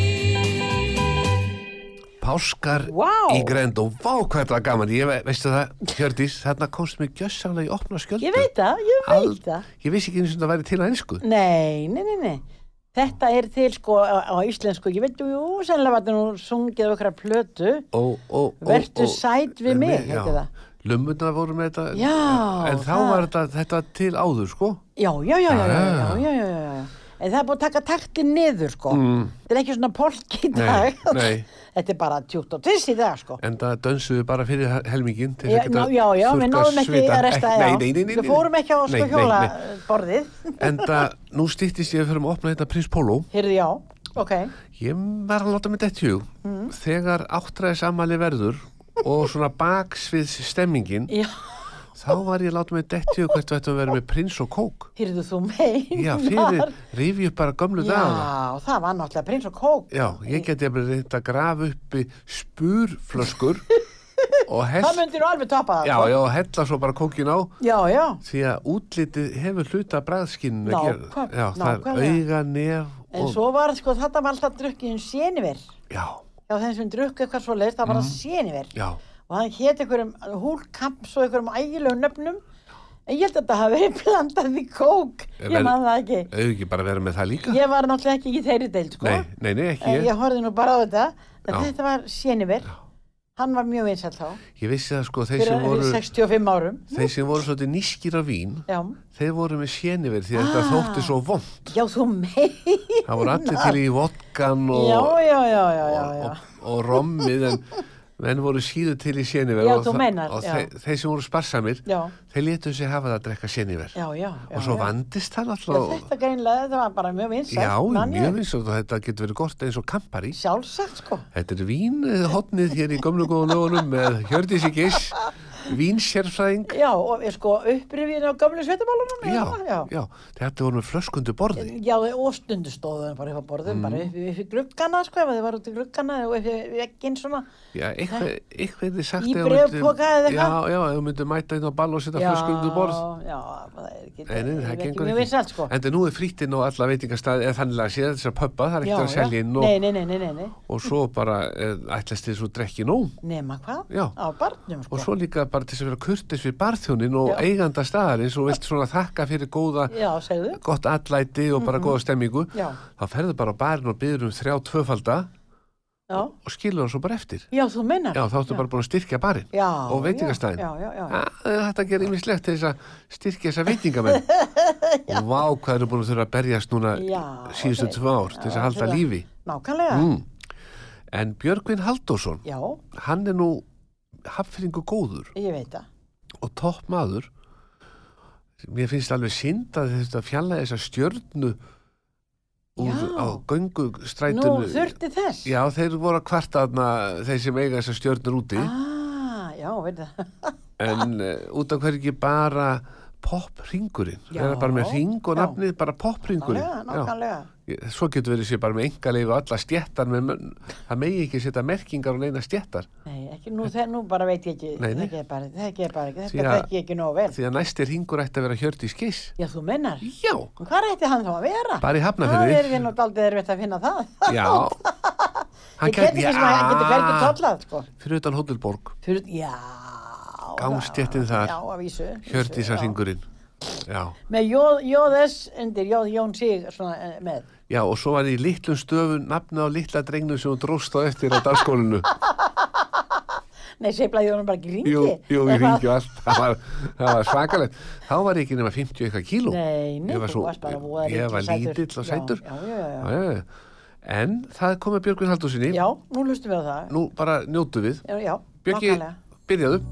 [SPEAKER 8] me.
[SPEAKER 2] Páskar
[SPEAKER 3] Vá.
[SPEAKER 2] í grænd og vá hvað þetta var gaman. Ég ve- veistu það, Hjördís, þarna komst mér gjössanlega í opna skjöldu.
[SPEAKER 3] Ég veit það, ég veit það.
[SPEAKER 2] Ég vissi ekki eins og það væri til að einsku.
[SPEAKER 3] Nei, nei, nei, nei. Þetta er til sko á, á íslensku, ég veit, jú, sennilega var þetta nú sungið á okkar plötu.
[SPEAKER 2] Ó, ó, ó,
[SPEAKER 3] Vertu
[SPEAKER 2] ó.
[SPEAKER 3] sæt við mig, heitir það.
[SPEAKER 2] Lumurnar voru með þetta. en-
[SPEAKER 3] Já,
[SPEAKER 2] En þá
[SPEAKER 3] það-
[SPEAKER 2] var þetta, þetta til áður, sko.
[SPEAKER 3] Já, já, já, já, já, já,
[SPEAKER 2] Ah.
[SPEAKER 3] já, já, já, já. En það er búið að taka taktin niður sko.
[SPEAKER 2] Mm.
[SPEAKER 3] Þetta er ekki svona polk í
[SPEAKER 2] Nei,
[SPEAKER 3] dag.
[SPEAKER 2] nei.
[SPEAKER 3] Þetta er bara tjútt og tviss í dag sko.
[SPEAKER 2] En það dönsuðu bara fyrir helmingin til
[SPEAKER 3] Já,
[SPEAKER 2] þess að
[SPEAKER 3] ná,
[SPEAKER 2] geta
[SPEAKER 3] já, já, við
[SPEAKER 2] þurrkað
[SPEAKER 3] náðum ekki
[SPEAKER 2] svitann.
[SPEAKER 3] að resta,
[SPEAKER 2] Ek-
[SPEAKER 3] já.
[SPEAKER 2] Nei, nei, nei, nei, nei.
[SPEAKER 3] Við fórum ekki á
[SPEAKER 2] Nei,
[SPEAKER 3] sko
[SPEAKER 2] nei, nei.
[SPEAKER 3] hjólaborðið.
[SPEAKER 2] En það, nú stýttist ég að fyrir að opna hérna Prins Póló.
[SPEAKER 3] Heyrðu, já, ok. Mm.
[SPEAKER 2] Ég var að láta mig detti hug. Þegar áttræðis ammali verður og svona baksvið stemmingin,
[SPEAKER 3] Já,
[SPEAKER 2] þá var ég að láta mig detti hug hvert við ættum að vera með Prins og Kók.
[SPEAKER 3] heyrðu þú meinar. [LAUGHS]
[SPEAKER 2] Já, fyrir, rifi upp bara gömlu dagana.
[SPEAKER 3] Já, það var náttúrulega prins og kók.
[SPEAKER 2] Já, ég geti að reynda að grafa uppi spurflöskur og
[SPEAKER 3] Það
[SPEAKER 2] hella,
[SPEAKER 3] myndir nú alveg tapa það.
[SPEAKER 2] já,
[SPEAKER 3] sko.
[SPEAKER 2] já, og hella svo bara kókin á
[SPEAKER 3] Já, já.
[SPEAKER 2] því að útlitið hefur hluta bræðskinnum að gera.
[SPEAKER 3] Nákvæm-
[SPEAKER 2] Já, það er
[SPEAKER 3] nákvæmlega.
[SPEAKER 2] auga, nef
[SPEAKER 3] En
[SPEAKER 2] og...
[SPEAKER 3] svo var, sko, þetta var alltaf drukkið um séniver.
[SPEAKER 2] Já,
[SPEAKER 3] Já, þeim sem drukku eitthvað svo leiðist, það var mm. séniver.
[SPEAKER 2] já,
[SPEAKER 3] Og hann hétt einhverjum húlkamps og einhverjum ægilegum nöfnum. En ég held að þetta hafi verið blandað í kók.
[SPEAKER 2] Ég
[SPEAKER 3] Ég
[SPEAKER 2] verð-
[SPEAKER 3] man það ekki.
[SPEAKER 2] auðvitað ekki bara vera með það líka.
[SPEAKER 3] Ég var náttúrulega ekki í þeirri deild, sko.
[SPEAKER 2] Nei, nei, nei, ekki
[SPEAKER 3] Ég,
[SPEAKER 2] ég.
[SPEAKER 3] ég horfði nú bara á þetta. En
[SPEAKER 2] Já.
[SPEAKER 3] þetta var séniver. Hann var mjög vinsall þá.
[SPEAKER 2] Ég vissi að sko þeir
[SPEAKER 3] Fyrir
[SPEAKER 2] sem
[SPEAKER 3] voru...
[SPEAKER 2] voru,
[SPEAKER 3] 65 árum.
[SPEAKER 2] þeir sem voru svolítið nískir af vín,
[SPEAKER 3] Já.
[SPEAKER 2] þeir voru með séniverð því að þetta þótti svo vond.
[SPEAKER 3] Ah. Já, þú meinar.
[SPEAKER 2] Það voru allir til
[SPEAKER 3] [LAUGHS]
[SPEAKER 2] í vodkan og,
[SPEAKER 3] Já, já, já, já, já,
[SPEAKER 2] og,
[SPEAKER 3] já.
[SPEAKER 2] og, og rommið en menn voru síðu til í séniver
[SPEAKER 3] Já,
[SPEAKER 2] og,
[SPEAKER 3] þú
[SPEAKER 2] þa-
[SPEAKER 3] meinar,
[SPEAKER 2] og
[SPEAKER 3] já.
[SPEAKER 2] þeir, þeir sem voru sparsamir
[SPEAKER 3] Já.
[SPEAKER 2] þeir letu sig hafa það að drekka séniver
[SPEAKER 3] Já, já, já.
[SPEAKER 2] og svo
[SPEAKER 3] já.
[SPEAKER 2] vandist það
[SPEAKER 3] Já,
[SPEAKER 2] alltaf
[SPEAKER 3] þetta greinlega, þetta var bara mjög vinsælt.
[SPEAKER 2] já,
[SPEAKER 3] man ég.
[SPEAKER 2] mjög viss og þetta getur verið gott eins og kampari
[SPEAKER 3] Sjálfsagt, sko.
[SPEAKER 2] þetta er vínhotnið hér í gömlu góðan lögunum með Hjördísi
[SPEAKER 3] [LAUGHS]
[SPEAKER 2] Giss vínsérfræðing
[SPEAKER 3] Já, og er sko upprifin á gamlu sveitamálunum.
[SPEAKER 2] já,
[SPEAKER 3] já.
[SPEAKER 2] já, þetta voru með flöskundu borði
[SPEAKER 3] Já, og stundu stóðu þeim bara upp á borðum, bara
[SPEAKER 2] Mm.
[SPEAKER 3] upp, upp í gluggana, sko, ef þið var út í gluggana og upp í vegginn svona.
[SPEAKER 2] já, eitthvað, eitthvað er sagt
[SPEAKER 3] Í
[SPEAKER 2] ef þú myndir-
[SPEAKER 3] bréfpoka
[SPEAKER 2] já,
[SPEAKER 3] eða eitthvað?
[SPEAKER 2] já, ef þú myndir mæta einn á ball og setja flöskundu borð
[SPEAKER 3] Já, það er ekki,
[SPEAKER 2] Nei, nei,
[SPEAKER 3] er
[SPEAKER 2] það
[SPEAKER 3] ekki
[SPEAKER 2] gengur
[SPEAKER 3] mjög vinsælt, sko.
[SPEAKER 2] Enda nú er frýttinn og alla veitingastæði eða þannig að sé þess að pöppa, það er
[SPEAKER 3] Já,
[SPEAKER 2] ekkert að
[SPEAKER 3] já.
[SPEAKER 2] selja inn og,
[SPEAKER 3] Nei, nei, nei, nei, nei, nei.
[SPEAKER 2] og svo bara e, ætlast þér svo drekki nú
[SPEAKER 3] Nema hvað?
[SPEAKER 2] Já.
[SPEAKER 3] Á barnum, sko.
[SPEAKER 2] og svo líka bara til þess að vera kurtis við barþjónin og
[SPEAKER 3] Já.
[SPEAKER 2] eiganda staðarins og vilt svona þakka fyrir góða
[SPEAKER 3] Já, segðu.
[SPEAKER 2] gott atlæti og bara góða stemmingu
[SPEAKER 3] Já.
[SPEAKER 2] þá ferðu bara á barinn og byrður um þrjá tvöfalda
[SPEAKER 3] Já,
[SPEAKER 2] og skilur hann svo bara eftir
[SPEAKER 3] já þú mennar.
[SPEAKER 2] já þá ertu bara búin að styrkja barinn
[SPEAKER 3] Já,
[SPEAKER 2] og Ah, veitingastæðin
[SPEAKER 3] já, já, já, já.
[SPEAKER 2] þetta gerir ímislegt til þess að styrkja þessa veitingamenn og vá hvað eru búin að þurfa að berjast núna
[SPEAKER 3] [LAUGHS] Já,
[SPEAKER 2] síðustu
[SPEAKER 3] þeir-
[SPEAKER 2] tvö ár til þess
[SPEAKER 3] já,
[SPEAKER 2] að halda
[SPEAKER 3] þeirra-
[SPEAKER 2] lífi
[SPEAKER 3] Nákvæmlega.
[SPEAKER 2] mm. en Björgvin Halldórsson
[SPEAKER 3] Já,
[SPEAKER 2] hann er nú hafðfyrringu góður
[SPEAKER 3] ég veit það.
[SPEAKER 2] og topp maður mér finnst alveg synd að þetta fjalla þessa stjörnu úr
[SPEAKER 3] Já.
[SPEAKER 2] á göngu
[SPEAKER 3] Nú,
[SPEAKER 2] strætinu
[SPEAKER 3] þurfti þess.
[SPEAKER 2] já þeir voru að kvarta þarna þeir sem eiga þessa stjörnur úti
[SPEAKER 3] Ah, já, veit það. [LAUGHS]
[SPEAKER 2] en uh, út af hverju ekki bara pophringurinn
[SPEAKER 3] Já.
[SPEAKER 2] það er bara með ring og
[SPEAKER 3] Já.
[SPEAKER 2] nafnið bara
[SPEAKER 3] Nákvæmlega,
[SPEAKER 2] pophringurinn Já.
[SPEAKER 3] nákvæmlega.
[SPEAKER 2] Ég- svo getur verið sér bara með engaleifu og alla stjættar með mönn það megi ekki setja merkingar og neina stjættar
[SPEAKER 3] Nei, ekki, nú, þe- nú bara veit ég ekki,
[SPEAKER 2] Nei, nei.
[SPEAKER 3] þekki ég bara, þekki ég bara ekki,
[SPEAKER 2] Því
[SPEAKER 3] þetta
[SPEAKER 2] að-
[SPEAKER 3] þekki ég ekki nógu vel.
[SPEAKER 2] því að næsti hringur ætti að vera hjördi í skiss
[SPEAKER 3] Já, þú mennar.
[SPEAKER 2] já,
[SPEAKER 3] En Hvar ætti hann þá að vera?
[SPEAKER 2] Bara í Hafnarfirði.
[SPEAKER 3] Það er við nú daldið erfitt að finna það. [LAUGHS]
[SPEAKER 2] já Ah.
[SPEAKER 3] Ég get ekki svona, hann getur hvergi tollað, sko.
[SPEAKER 2] fyrir utan Hótelborg,
[SPEAKER 3] Fyrir, já.
[SPEAKER 2] Gangstéttin þar.
[SPEAKER 3] Já, að vísu. vísu,
[SPEAKER 2] hjördísa
[SPEAKER 3] já.
[SPEAKER 2] hringurinn já,
[SPEAKER 3] Með jóð, jóðes undir, jóð Jón Sig, svona eh, með.
[SPEAKER 2] já og svo var í litlum stöfun nafna á litla drengnum sem hún dróst á eftir á dagskólinu
[SPEAKER 3] [LAUGHS] Nei, seiflaði honum bara ekki í ringi.
[SPEAKER 2] Jú, jú, í
[SPEAKER 3] Eða hvað?
[SPEAKER 2] ringi og allt, það var, það var svakalegt. Þá var ég ekki nema 50 eitthvað kíló.
[SPEAKER 3] Nei, nei,
[SPEAKER 2] Ég var
[SPEAKER 3] þú
[SPEAKER 2] svo-
[SPEAKER 3] varst bara voða
[SPEAKER 2] Ég
[SPEAKER 3] lítill
[SPEAKER 2] var
[SPEAKER 3] og sætur.
[SPEAKER 2] lítill og
[SPEAKER 3] Já,
[SPEAKER 2] sætur.
[SPEAKER 3] já, já, já, já.
[SPEAKER 2] En það kom með Björgvin Haldursinni.
[SPEAKER 3] Já, nú hlustum við á það.
[SPEAKER 2] Nú bara njótu við.
[SPEAKER 3] Já, já,
[SPEAKER 2] Björki,
[SPEAKER 3] nákvæmlega.
[SPEAKER 2] byrjaðu.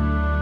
[SPEAKER 5] Á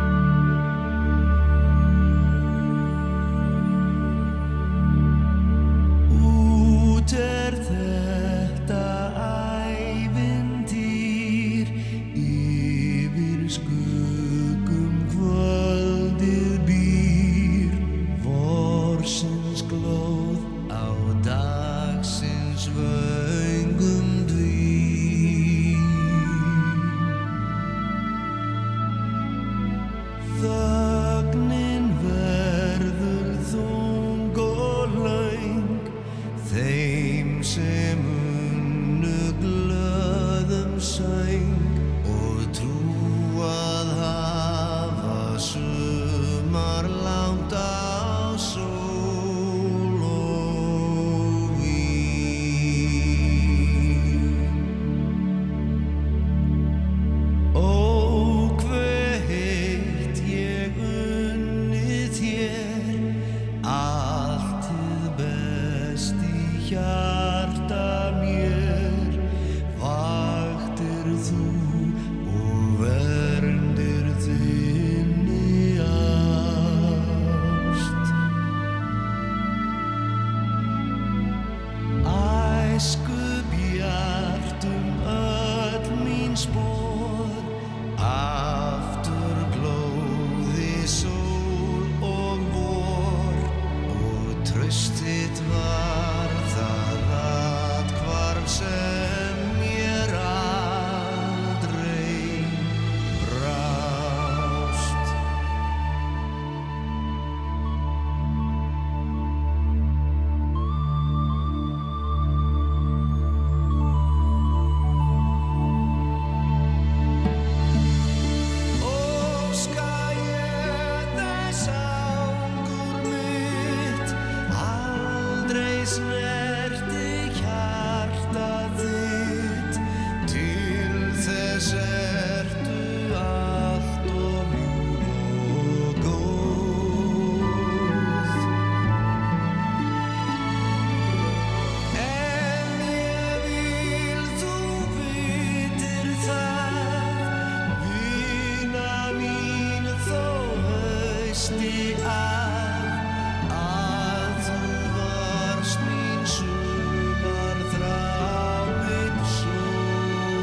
[SPEAKER 9] Varst í að, að þú varst mín sumar þráin sól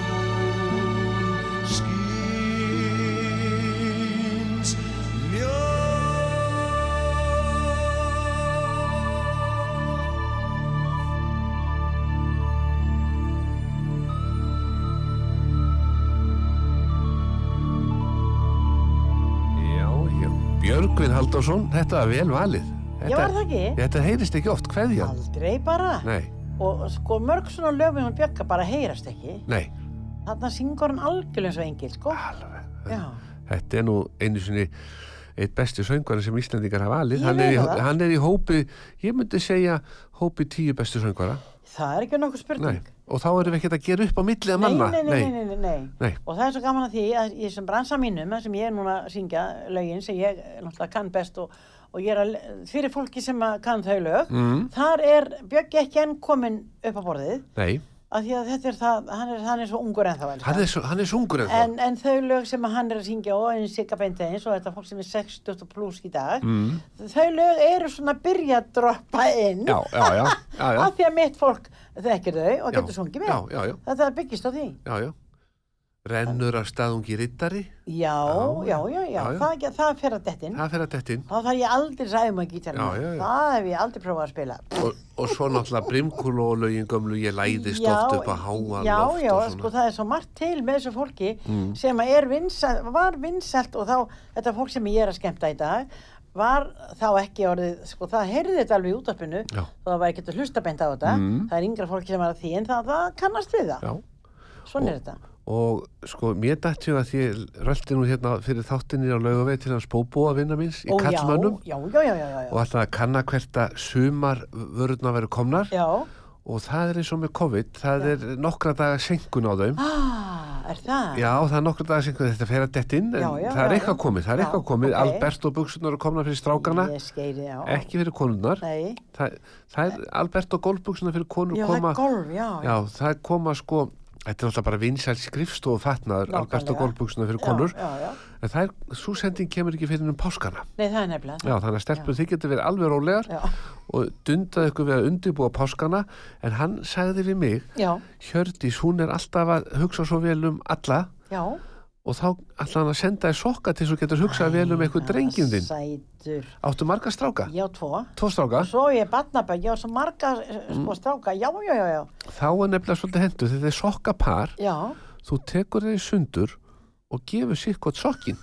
[SPEAKER 9] skýns mjög.
[SPEAKER 2] Já, já. Björgvin Halldórsson, þetta var vel valið. Þetta,
[SPEAKER 3] Já, var það ekki?
[SPEAKER 2] Þetta heyrist ekki oft, hverja?
[SPEAKER 3] Aldrei bara.
[SPEAKER 2] Nei,
[SPEAKER 3] Og sko mörg svona lögum hann bjökka bara heyrast ekki.
[SPEAKER 2] nei,
[SPEAKER 3] Þarna syngur hann algjörlega eins og engil, sko.
[SPEAKER 2] alveg.
[SPEAKER 3] Já.
[SPEAKER 2] Þetta er nú einu sinni eitt besti söngvari sem Íslandingar hafa
[SPEAKER 3] Ég
[SPEAKER 2] valið. Hann er,
[SPEAKER 3] veit
[SPEAKER 2] í,
[SPEAKER 3] það.
[SPEAKER 2] hann er í hópi, ég myndi segja, hópi tíu bestu söngvara.
[SPEAKER 3] Það er ekki nokkuð
[SPEAKER 2] Nei,
[SPEAKER 3] spurning.
[SPEAKER 2] og þá erum við ekkert að gera upp á millið að
[SPEAKER 3] Nei,
[SPEAKER 2] manna.
[SPEAKER 3] nei, nei, nei, nei, nei,
[SPEAKER 2] Nei.
[SPEAKER 3] Og það er svo gaman að því að í þessum bransa mínum, þar sem ég er núna að syngja lögin sem ég eh, náttúrulega kann best og, og ég er að, fyrir fólki sem að kann þau lög,
[SPEAKER 2] Mm.
[SPEAKER 3] þar er Bjöggi ekki enn komin upp á borðið,
[SPEAKER 2] Nei,
[SPEAKER 3] af því að þetta er það, hann er, hann er svo ungur ennþá. elskan.
[SPEAKER 2] hann er, svo- hann er sungur en
[SPEAKER 3] En, en þau lög sem að hann er að syngja og einn Sigga Beinteins og þetta fólk sem er 60 pluss í dag,
[SPEAKER 2] Mm.
[SPEAKER 3] þau lög eru svona að byrja að droppa inn
[SPEAKER 2] Já, já, já, já, já.
[SPEAKER 3] af því að mitt fólk þekkir þau og
[SPEAKER 2] Já,
[SPEAKER 3] getur sungið með.
[SPEAKER 2] já, já, já.
[SPEAKER 3] Þetta byggist á því.
[SPEAKER 2] Já, já. Rennur af staðungi rittari,
[SPEAKER 3] Já,
[SPEAKER 2] Já,
[SPEAKER 3] já, já, já,
[SPEAKER 2] já, já.
[SPEAKER 3] Það, ge- það fer að dettin.
[SPEAKER 2] það fer að dettin.
[SPEAKER 3] Þá þarf ég aldrei sæðum að gítarinn.
[SPEAKER 2] Já, já, já.
[SPEAKER 3] Það hef ég aldrei prófað að spila.
[SPEAKER 2] Og, og svo náttúrulega brimkulólögin gömlu, ég læðist oft upp að háa
[SPEAKER 3] já,
[SPEAKER 2] loft
[SPEAKER 3] já,
[SPEAKER 2] og svona. Mm.
[SPEAKER 3] sko það er svo margt til með þessu fólki sem að er vinsælt, var vinsælt og þá, þetta fólk sem ég er að skemmta í dag, var þá ekki orðið, sko það heyrði þetta alveg í útarpinu,
[SPEAKER 2] Já. Mm.
[SPEAKER 3] það var ekkert að hlusta beint á þetta, það er yngra fólki sem var að því en það, það kannast við það,
[SPEAKER 2] Já,
[SPEAKER 3] svona er þetta.
[SPEAKER 2] og sko mér dætti að því röldi nú hérna fyrir þáttinni á laugaveg til hans bóbóa vinna míns í
[SPEAKER 3] Ó, já,
[SPEAKER 2] kallmönnum
[SPEAKER 3] Já, já, já, já, já,
[SPEAKER 2] og alltaf að kanna hvert að sumar vörðna verður komnar
[SPEAKER 3] já.
[SPEAKER 2] og það er eins og með COVID, það er nokkra daga senkun á þeim.
[SPEAKER 3] Ah, er það?
[SPEAKER 2] Já, það er nokkra daga senkun, þetta fer að dett inn en
[SPEAKER 3] Já, já,
[SPEAKER 2] það er
[SPEAKER 3] já,
[SPEAKER 2] eitthvað
[SPEAKER 3] já.
[SPEAKER 2] komið, það er
[SPEAKER 3] Já,
[SPEAKER 2] eitthvað komið,
[SPEAKER 3] ok.
[SPEAKER 2] Alberto buksunar eru komnar fyrir strákana,
[SPEAKER 3] Ég skeiri, já.
[SPEAKER 2] ekki fyrir konunnar.
[SPEAKER 3] Nei,
[SPEAKER 2] Það, það er Alberto golfbuksunar fyrir konur
[SPEAKER 3] já, það
[SPEAKER 2] koma,
[SPEAKER 3] er golf, já.
[SPEAKER 2] já, það koma sko, þetta er alltaf bara vinsæl skrifstofu fatnaður,
[SPEAKER 3] nákvæmlega.
[SPEAKER 2] Alberto golfbuksunar fyrir
[SPEAKER 3] Já,
[SPEAKER 2] konur.
[SPEAKER 3] Já, já,
[SPEAKER 2] En það er, svo sending kemur ekki fyrir um páskana.
[SPEAKER 3] nei, það er nefnilega.
[SPEAKER 2] Já, þannig að stelpur þið getur verið alveg rólegar
[SPEAKER 3] Já.
[SPEAKER 2] og dundaði ykkur við að undirbúa páskana en hann sagði við mig,
[SPEAKER 3] Já,
[SPEAKER 2] Hjördís, hún er alltaf að hugsa svo vel um alla
[SPEAKER 3] já.
[SPEAKER 2] og þá ætla hann að senda þér sokka til þú getur hugsað vel um eitthvað drengjum þinn.
[SPEAKER 3] Sætur,
[SPEAKER 2] Áttu marga stráka?
[SPEAKER 3] já, tvo.
[SPEAKER 2] Tvo stráka?
[SPEAKER 3] Svo ég batnabæk, já, svo marga eh, sko
[SPEAKER 2] Mm.
[SPEAKER 3] stráka, já, já, já, já.
[SPEAKER 2] Þá er nefnilega svolítið hendur þegar þið er sokkapar,
[SPEAKER 3] Já,
[SPEAKER 2] þú tekur þeir í sundur og gefur sér hvort sokkin.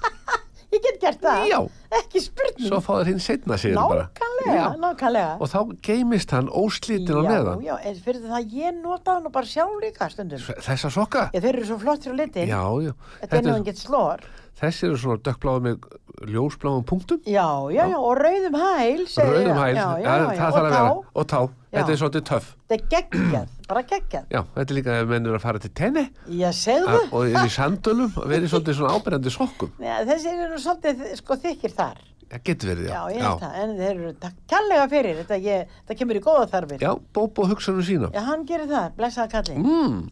[SPEAKER 3] ég get gert [LAUGHS] það.
[SPEAKER 2] Já,
[SPEAKER 3] Ekki spurning.
[SPEAKER 2] svo fá þér hinn setna sér bara.
[SPEAKER 3] Nákvæmlega,
[SPEAKER 2] Já.
[SPEAKER 3] nákvæmlega.
[SPEAKER 2] Og þá geimist hann óslítinn á meðan.
[SPEAKER 3] Já, já, en fyrir það ég nota hann og bara sjálf líka stundum.
[SPEAKER 2] Þessa sokka?
[SPEAKER 3] Ég, þeir eru svo flottir á litin.
[SPEAKER 2] Já, já.
[SPEAKER 3] Þetta er nú
[SPEAKER 2] er-
[SPEAKER 3] engett slór.
[SPEAKER 2] Þessi eru svona dökkbláði með ljósbláðum punktum.
[SPEAKER 3] Já, já, já, og rauðum hæl, segir
[SPEAKER 2] Rauðum hæl,
[SPEAKER 3] Já,
[SPEAKER 2] það
[SPEAKER 3] já, já,
[SPEAKER 2] þarf að
[SPEAKER 3] og
[SPEAKER 2] vera.
[SPEAKER 3] tá.
[SPEAKER 2] Og tá,
[SPEAKER 3] Já.
[SPEAKER 2] þetta er svolítið töff.
[SPEAKER 3] Þetta er geggjað, bara geggjað.
[SPEAKER 2] Já, þetta er líka ef menn eru að fara til tenni
[SPEAKER 3] Já, segðu.
[SPEAKER 2] að- og eru í sandölum og verið svolítið svona ábyrjandi sokkum.
[SPEAKER 3] Ja, þessi eru svolítið sko þykir þar.
[SPEAKER 2] Það getur verið, já.
[SPEAKER 3] Já, ég held það, en þeir eru takk kærlega fyrir, þetta, ég, þetta kemur í góða þarfir.
[SPEAKER 2] Já, Bóbo hugsanum sína.
[SPEAKER 3] Já, hann gerir það, blessaða kallin.
[SPEAKER 2] Mm.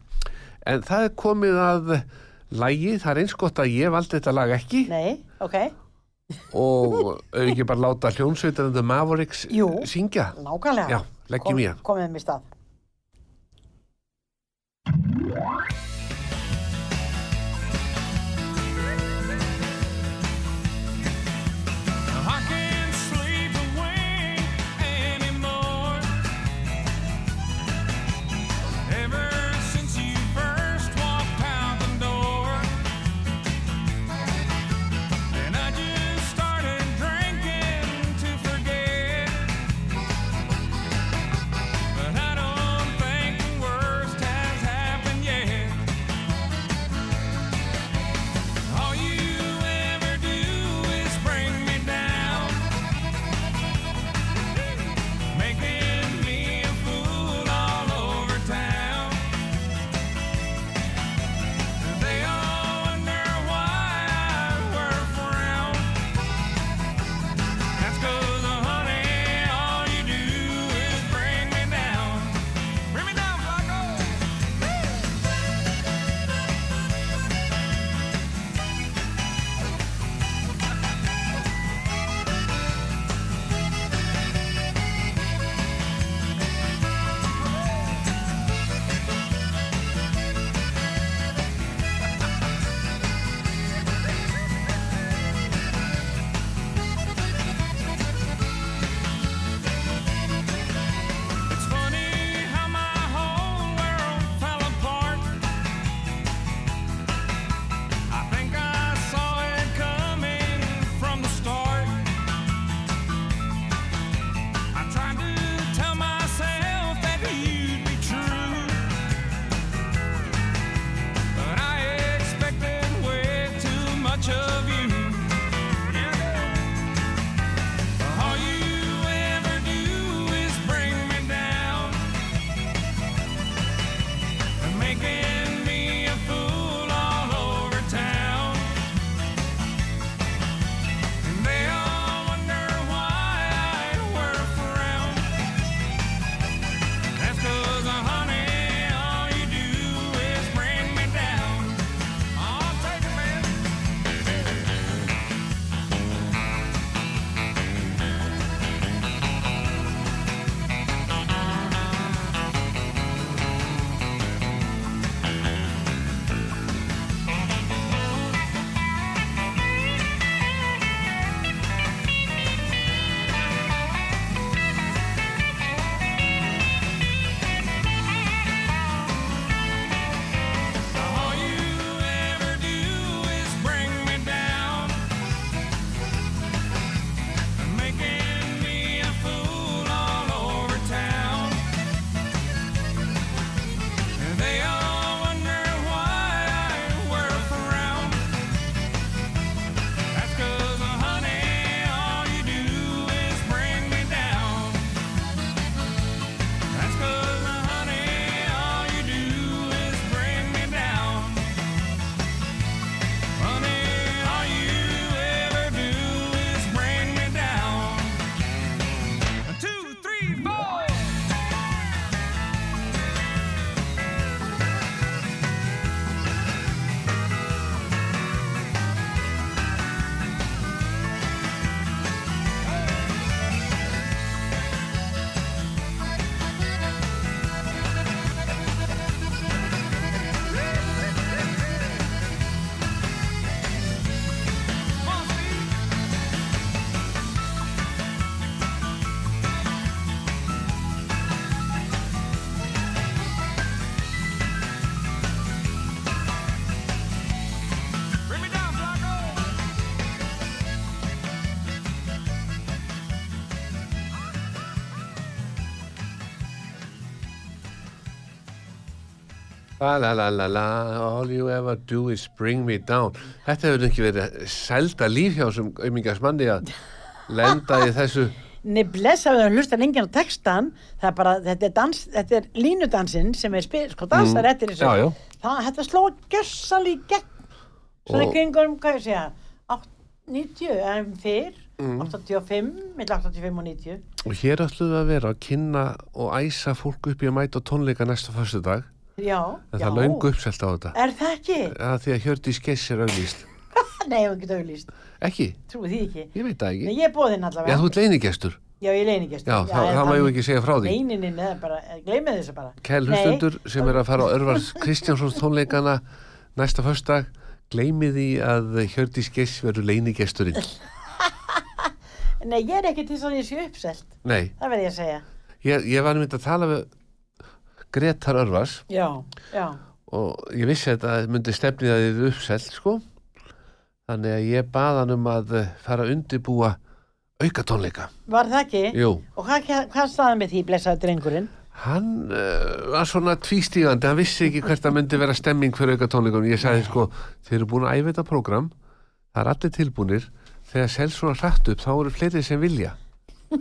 [SPEAKER 2] En það er komið að lægi, það er eins gott að ég valdi þetta lag ekki
[SPEAKER 3] Nei, ok,
[SPEAKER 2] og auðvitað ekki bara láta hljónsveitarinn The Mavericks
[SPEAKER 3] Jú.
[SPEAKER 2] syngja.
[SPEAKER 3] nákvæmlega.
[SPEAKER 2] Já, leggjum í hann.
[SPEAKER 3] Komið um í stað.
[SPEAKER 9] I can't sleep a wink anymore. Ever since you first walked out the door, and I just started drinking to forget. But I don't uh,
[SPEAKER 2] La la la la la, all you ever do is bring me down. Þetta hefur ekki verið selda líf hjá sem auðmingasmanni að lenda í þessu.
[SPEAKER 3] Nei, blessa við að hlusta lengjan á textan það er bara, þetta er, dans, þetta er línudansin sem er spil, sko dansar
[SPEAKER 2] Mm,
[SPEAKER 3] eftir þessu
[SPEAKER 2] já, já.
[SPEAKER 3] Það, þetta sló gjössal í gegn svona
[SPEAKER 2] Og-
[SPEAKER 3] kringum, hvað ég segja átt- 90 en fyrr
[SPEAKER 2] Mm.
[SPEAKER 3] 85, milli 85 og 90
[SPEAKER 2] Og hér ætlum við að vera að kynna og æsa fólk upp í að mæta á tónleika næsta föstudag.
[SPEAKER 3] já,
[SPEAKER 2] En
[SPEAKER 3] já
[SPEAKER 2] það er löngu uppselt á þetta.
[SPEAKER 3] er það ekki? [LAUGHS]
[SPEAKER 2] Að því að Hjördís Geiss er auðvíst.
[SPEAKER 3] Nei, ég hef ekki auðlýst,
[SPEAKER 2] Ekki,
[SPEAKER 3] trúi því ekki
[SPEAKER 2] ég veit það
[SPEAKER 3] Nei,
[SPEAKER 2] ekki.
[SPEAKER 3] ég er bóðinn
[SPEAKER 2] Já,
[SPEAKER 3] allavega
[SPEAKER 2] þú ert leinigestur.
[SPEAKER 3] Já, ég leini ekki
[SPEAKER 2] Já, þá- þá má ég ekki segja frá því.
[SPEAKER 3] Leinin, neða bara, gleymið þessu bara
[SPEAKER 2] Kæl
[SPEAKER 3] Nei,
[SPEAKER 2] hlustundur sem er að fara á Örvar Kristjánsson tónleikana næsta föstudag. Gleimið því að Hjördís Geiss verður leinigesturinn.
[SPEAKER 3] [LAUGHS] Nei, ég er ekki til þess að ég sé uppselt
[SPEAKER 2] Nei,
[SPEAKER 3] Það verð ég að segja
[SPEAKER 2] ég, ég var mynd að tala við Gretar Örvars
[SPEAKER 3] Já, já
[SPEAKER 2] og ég vissi að þetta myndi stefnið að þið uppselt sko þannig að ég bað hann um að eh, fara að undirbúa aukatónleika
[SPEAKER 3] Var það ekki?
[SPEAKER 2] Jú,
[SPEAKER 3] Og hvað, hvað staðið með því, blessaði drengurinn?
[SPEAKER 2] hann uh, var svona tvístígandi, hann vissi ekki hvert að myndi vera stemming fyrir aukatónleikum ég sagði sko, þeir eru búin að æfa þetta prógram það er allir tilbúnir þegar selst svona hratt upp þá eru fleiri sem vilja [LAUGHS]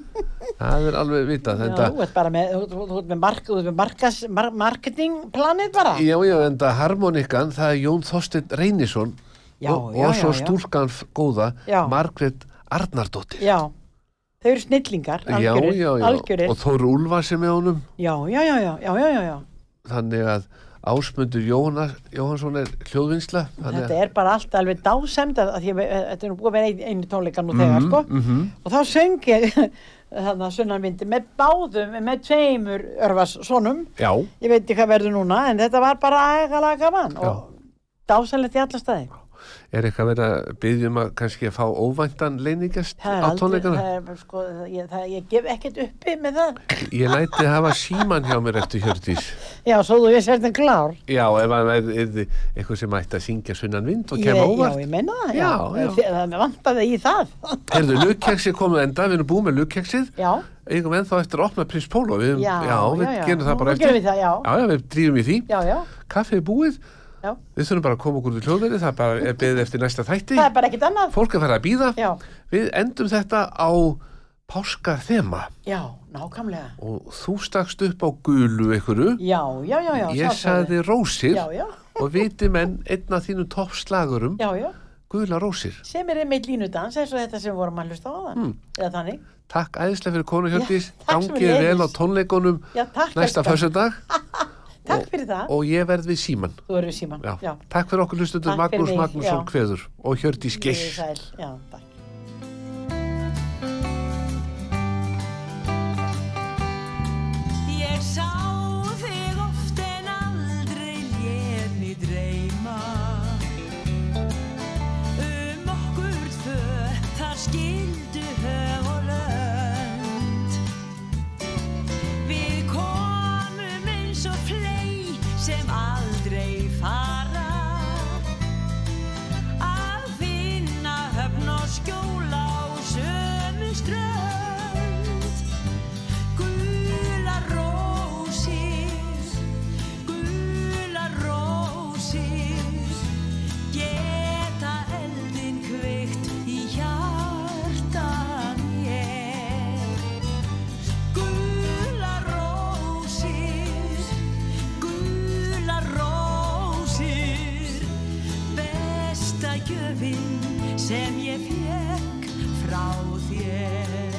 [SPEAKER 2] það er alveg vitað
[SPEAKER 3] Já,
[SPEAKER 2] þetta
[SPEAKER 3] þú ert bara með, þú, þú, þú ert með, mark, þú ert með markas, mar, marketingplanið bara.
[SPEAKER 2] Já, já, en það harmonikan, það er Jón Þorsteinn Reynisson
[SPEAKER 3] Já,
[SPEAKER 2] og,
[SPEAKER 3] já,
[SPEAKER 2] og
[SPEAKER 3] já,
[SPEAKER 2] svo
[SPEAKER 3] já.
[SPEAKER 2] stúlkan f- góða,
[SPEAKER 3] Já.
[SPEAKER 2] Margrét Arnardóttir.
[SPEAKER 3] Já, þau eru snillingar, algjörir.
[SPEAKER 2] já, já, já.
[SPEAKER 3] algjörir.
[SPEAKER 2] og Þóru Úlfa sem er honum,
[SPEAKER 3] Já, já, já, já, já, já, já, já.
[SPEAKER 2] þannig að Ásmundur Jónas, Jóhansson er hljóðvinnsla. þannig
[SPEAKER 3] Þetta
[SPEAKER 2] að-
[SPEAKER 3] er bara allt alveg dásemd að að því að við- þetta er nú búið að vera ein- einu tónleika nú þegar,
[SPEAKER 2] Mhm,
[SPEAKER 3] sko. Og þá söng ég [LAUGHS] þannig að sunnanvindi með báðum, með tveimur örvarssonum.
[SPEAKER 2] Já,
[SPEAKER 3] Ég veit ekki hvað verður núna, en þetta var bara agalega gaman og dásamlegt í alla staði.
[SPEAKER 2] er eitthvað verið að byggjum að kannski að fá óvæntan leiningast
[SPEAKER 3] Það er
[SPEAKER 2] á tónleikana?
[SPEAKER 3] það er, bara, sko, það, ég, það, ég gef ekkert uppi með það.
[SPEAKER 2] Ég læti hafa síman hjá mér eftir Hjördís.
[SPEAKER 3] Já, svo þú veist þetta klár.
[SPEAKER 2] Já, ef hann er eitthvað sem ætti að syngja sunnan vind og
[SPEAKER 3] Ég,
[SPEAKER 2] kemur óvart.
[SPEAKER 3] já, ég menna það.
[SPEAKER 2] Já, já.
[SPEAKER 3] Þi- Það vantaði í það. [LAUGHS]
[SPEAKER 2] Herðu, lukkeksi komið enda, við erum búið með lukkeksið
[SPEAKER 3] Já,
[SPEAKER 2] eigum ennþá eftir að opna prins Pólo við,
[SPEAKER 3] Já,
[SPEAKER 2] við
[SPEAKER 3] já, já.
[SPEAKER 2] gerum það bara
[SPEAKER 3] Nú
[SPEAKER 2] eftir
[SPEAKER 3] gerum við það, já.
[SPEAKER 2] já, við drýjum í því
[SPEAKER 3] já, já.
[SPEAKER 2] kaffið er búið,
[SPEAKER 3] Já.
[SPEAKER 2] við þurfum bara að koma okkur út í hljóðveri það bara er beðið eftir næsta þætti
[SPEAKER 3] Það er bara ekkert annað.
[SPEAKER 2] fólk er farið að býða
[SPEAKER 3] Já,
[SPEAKER 2] við endum þetta á páska þema
[SPEAKER 3] já, nákvæmlega.
[SPEAKER 2] og þú stakst upp á gulu ykkuru
[SPEAKER 3] Já, já, já, já.
[SPEAKER 2] ég
[SPEAKER 3] sjálfsögðu.
[SPEAKER 2] sagði rósir
[SPEAKER 3] Já, já,
[SPEAKER 2] og viti menn einn af þínum toppslagurum
[SPEAKER 3] já, já.
[SPEAKER 2] gula rósir
[SPEAKER 3] Sem er einmitt línudans eins og þetta sem við vorum að hlusta á þann.
[SPEAKER 2] Hmm.
[SPEAKER 3] Eða þannig.
[SPEAKER 2] takk æðislega fyrir konu Hjördís
[SPEAKER 3] Já, takk
[SPEAKER 2] gangið
[SPEAKER 3] sömuleiðis.
[SPEAKER 2] vel á tónleikunum
[SPEAKER 3] Já, takk.
[SPEAKER 2] næsta
[SPEAKER 3] elskan.
[SPEAKER 2] fyrstudag
[SPEAKER 3] Takk fyrir það.
[SPEAKER 2] og ég verð við síman
[SPEAKER 3] Þú eru síman.
[SPEAKER 2] Já. Takk fyrir okkur hlustundur
[SPEAKER 3] Takk fyrir
[SPEAKER 2] Magnús
[SPEAKER 3] mig,
[SPEAKER 2] Magnússon
[SPEAKER 3] já.
[SPEAKER 2] Kveður og Hjördís Geiss.
[SPEAKER 3] Sæl, já, takk.
[SPEAKER 1] Ég sá þig oft en aldrei léð mig dreyma Um okkur tvö þar skildu höf og lönd Við komum eins og flei sem aldrei fara Að finna höfn og skjóla á sömu strönd Gula rósir, gula rósir, geta eldin kveikt í hjarta mér. Gula rósir, gula rósir, besta gjöfin sem ég fekk frá þér.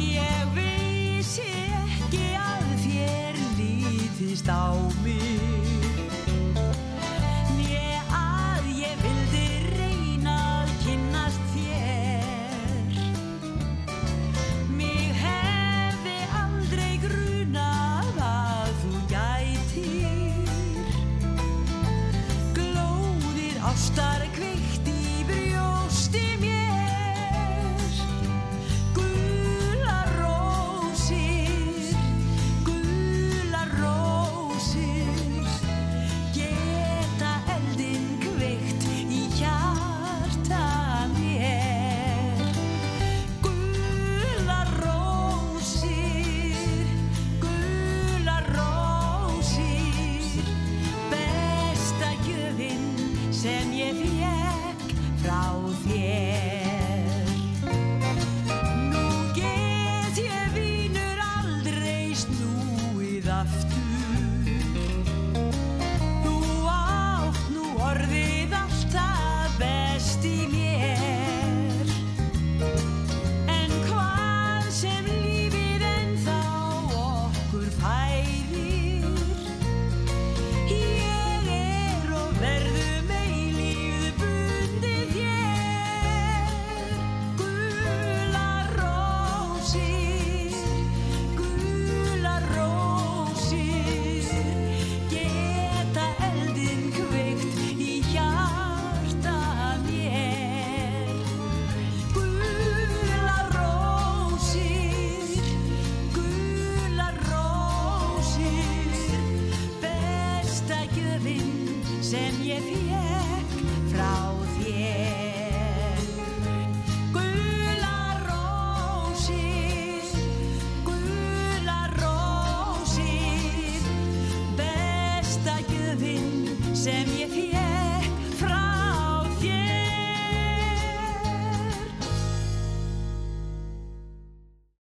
[SPEAKER 1] Ég vissi ekki að þér lítist á mig Né að ég vildi reyna að kynnast þér Mig hefði aldrei grunað að þú gætir Glóðir ástar kveikt í brjósti mér Gula rósir, gula rósir, geta eldinn kveikt í hjarta mér. Gula rósir, gula rósir. sem ég fekk frá þér. Nú get ég vínur aldrei snúið aftur. Þú átt nú orðið alltaf best í mér. En hvað sem lífið ennþá okkur færir Ég er og verðum eilíð bundið þér Gula rósir, gula rósir Geta eldin kveikt í hjarta mér Gula rósir, gula rósir Besta gjöfin sem ég fekk frá þér Gula rósir, gula rósir Besta gjöfin sem ég fekk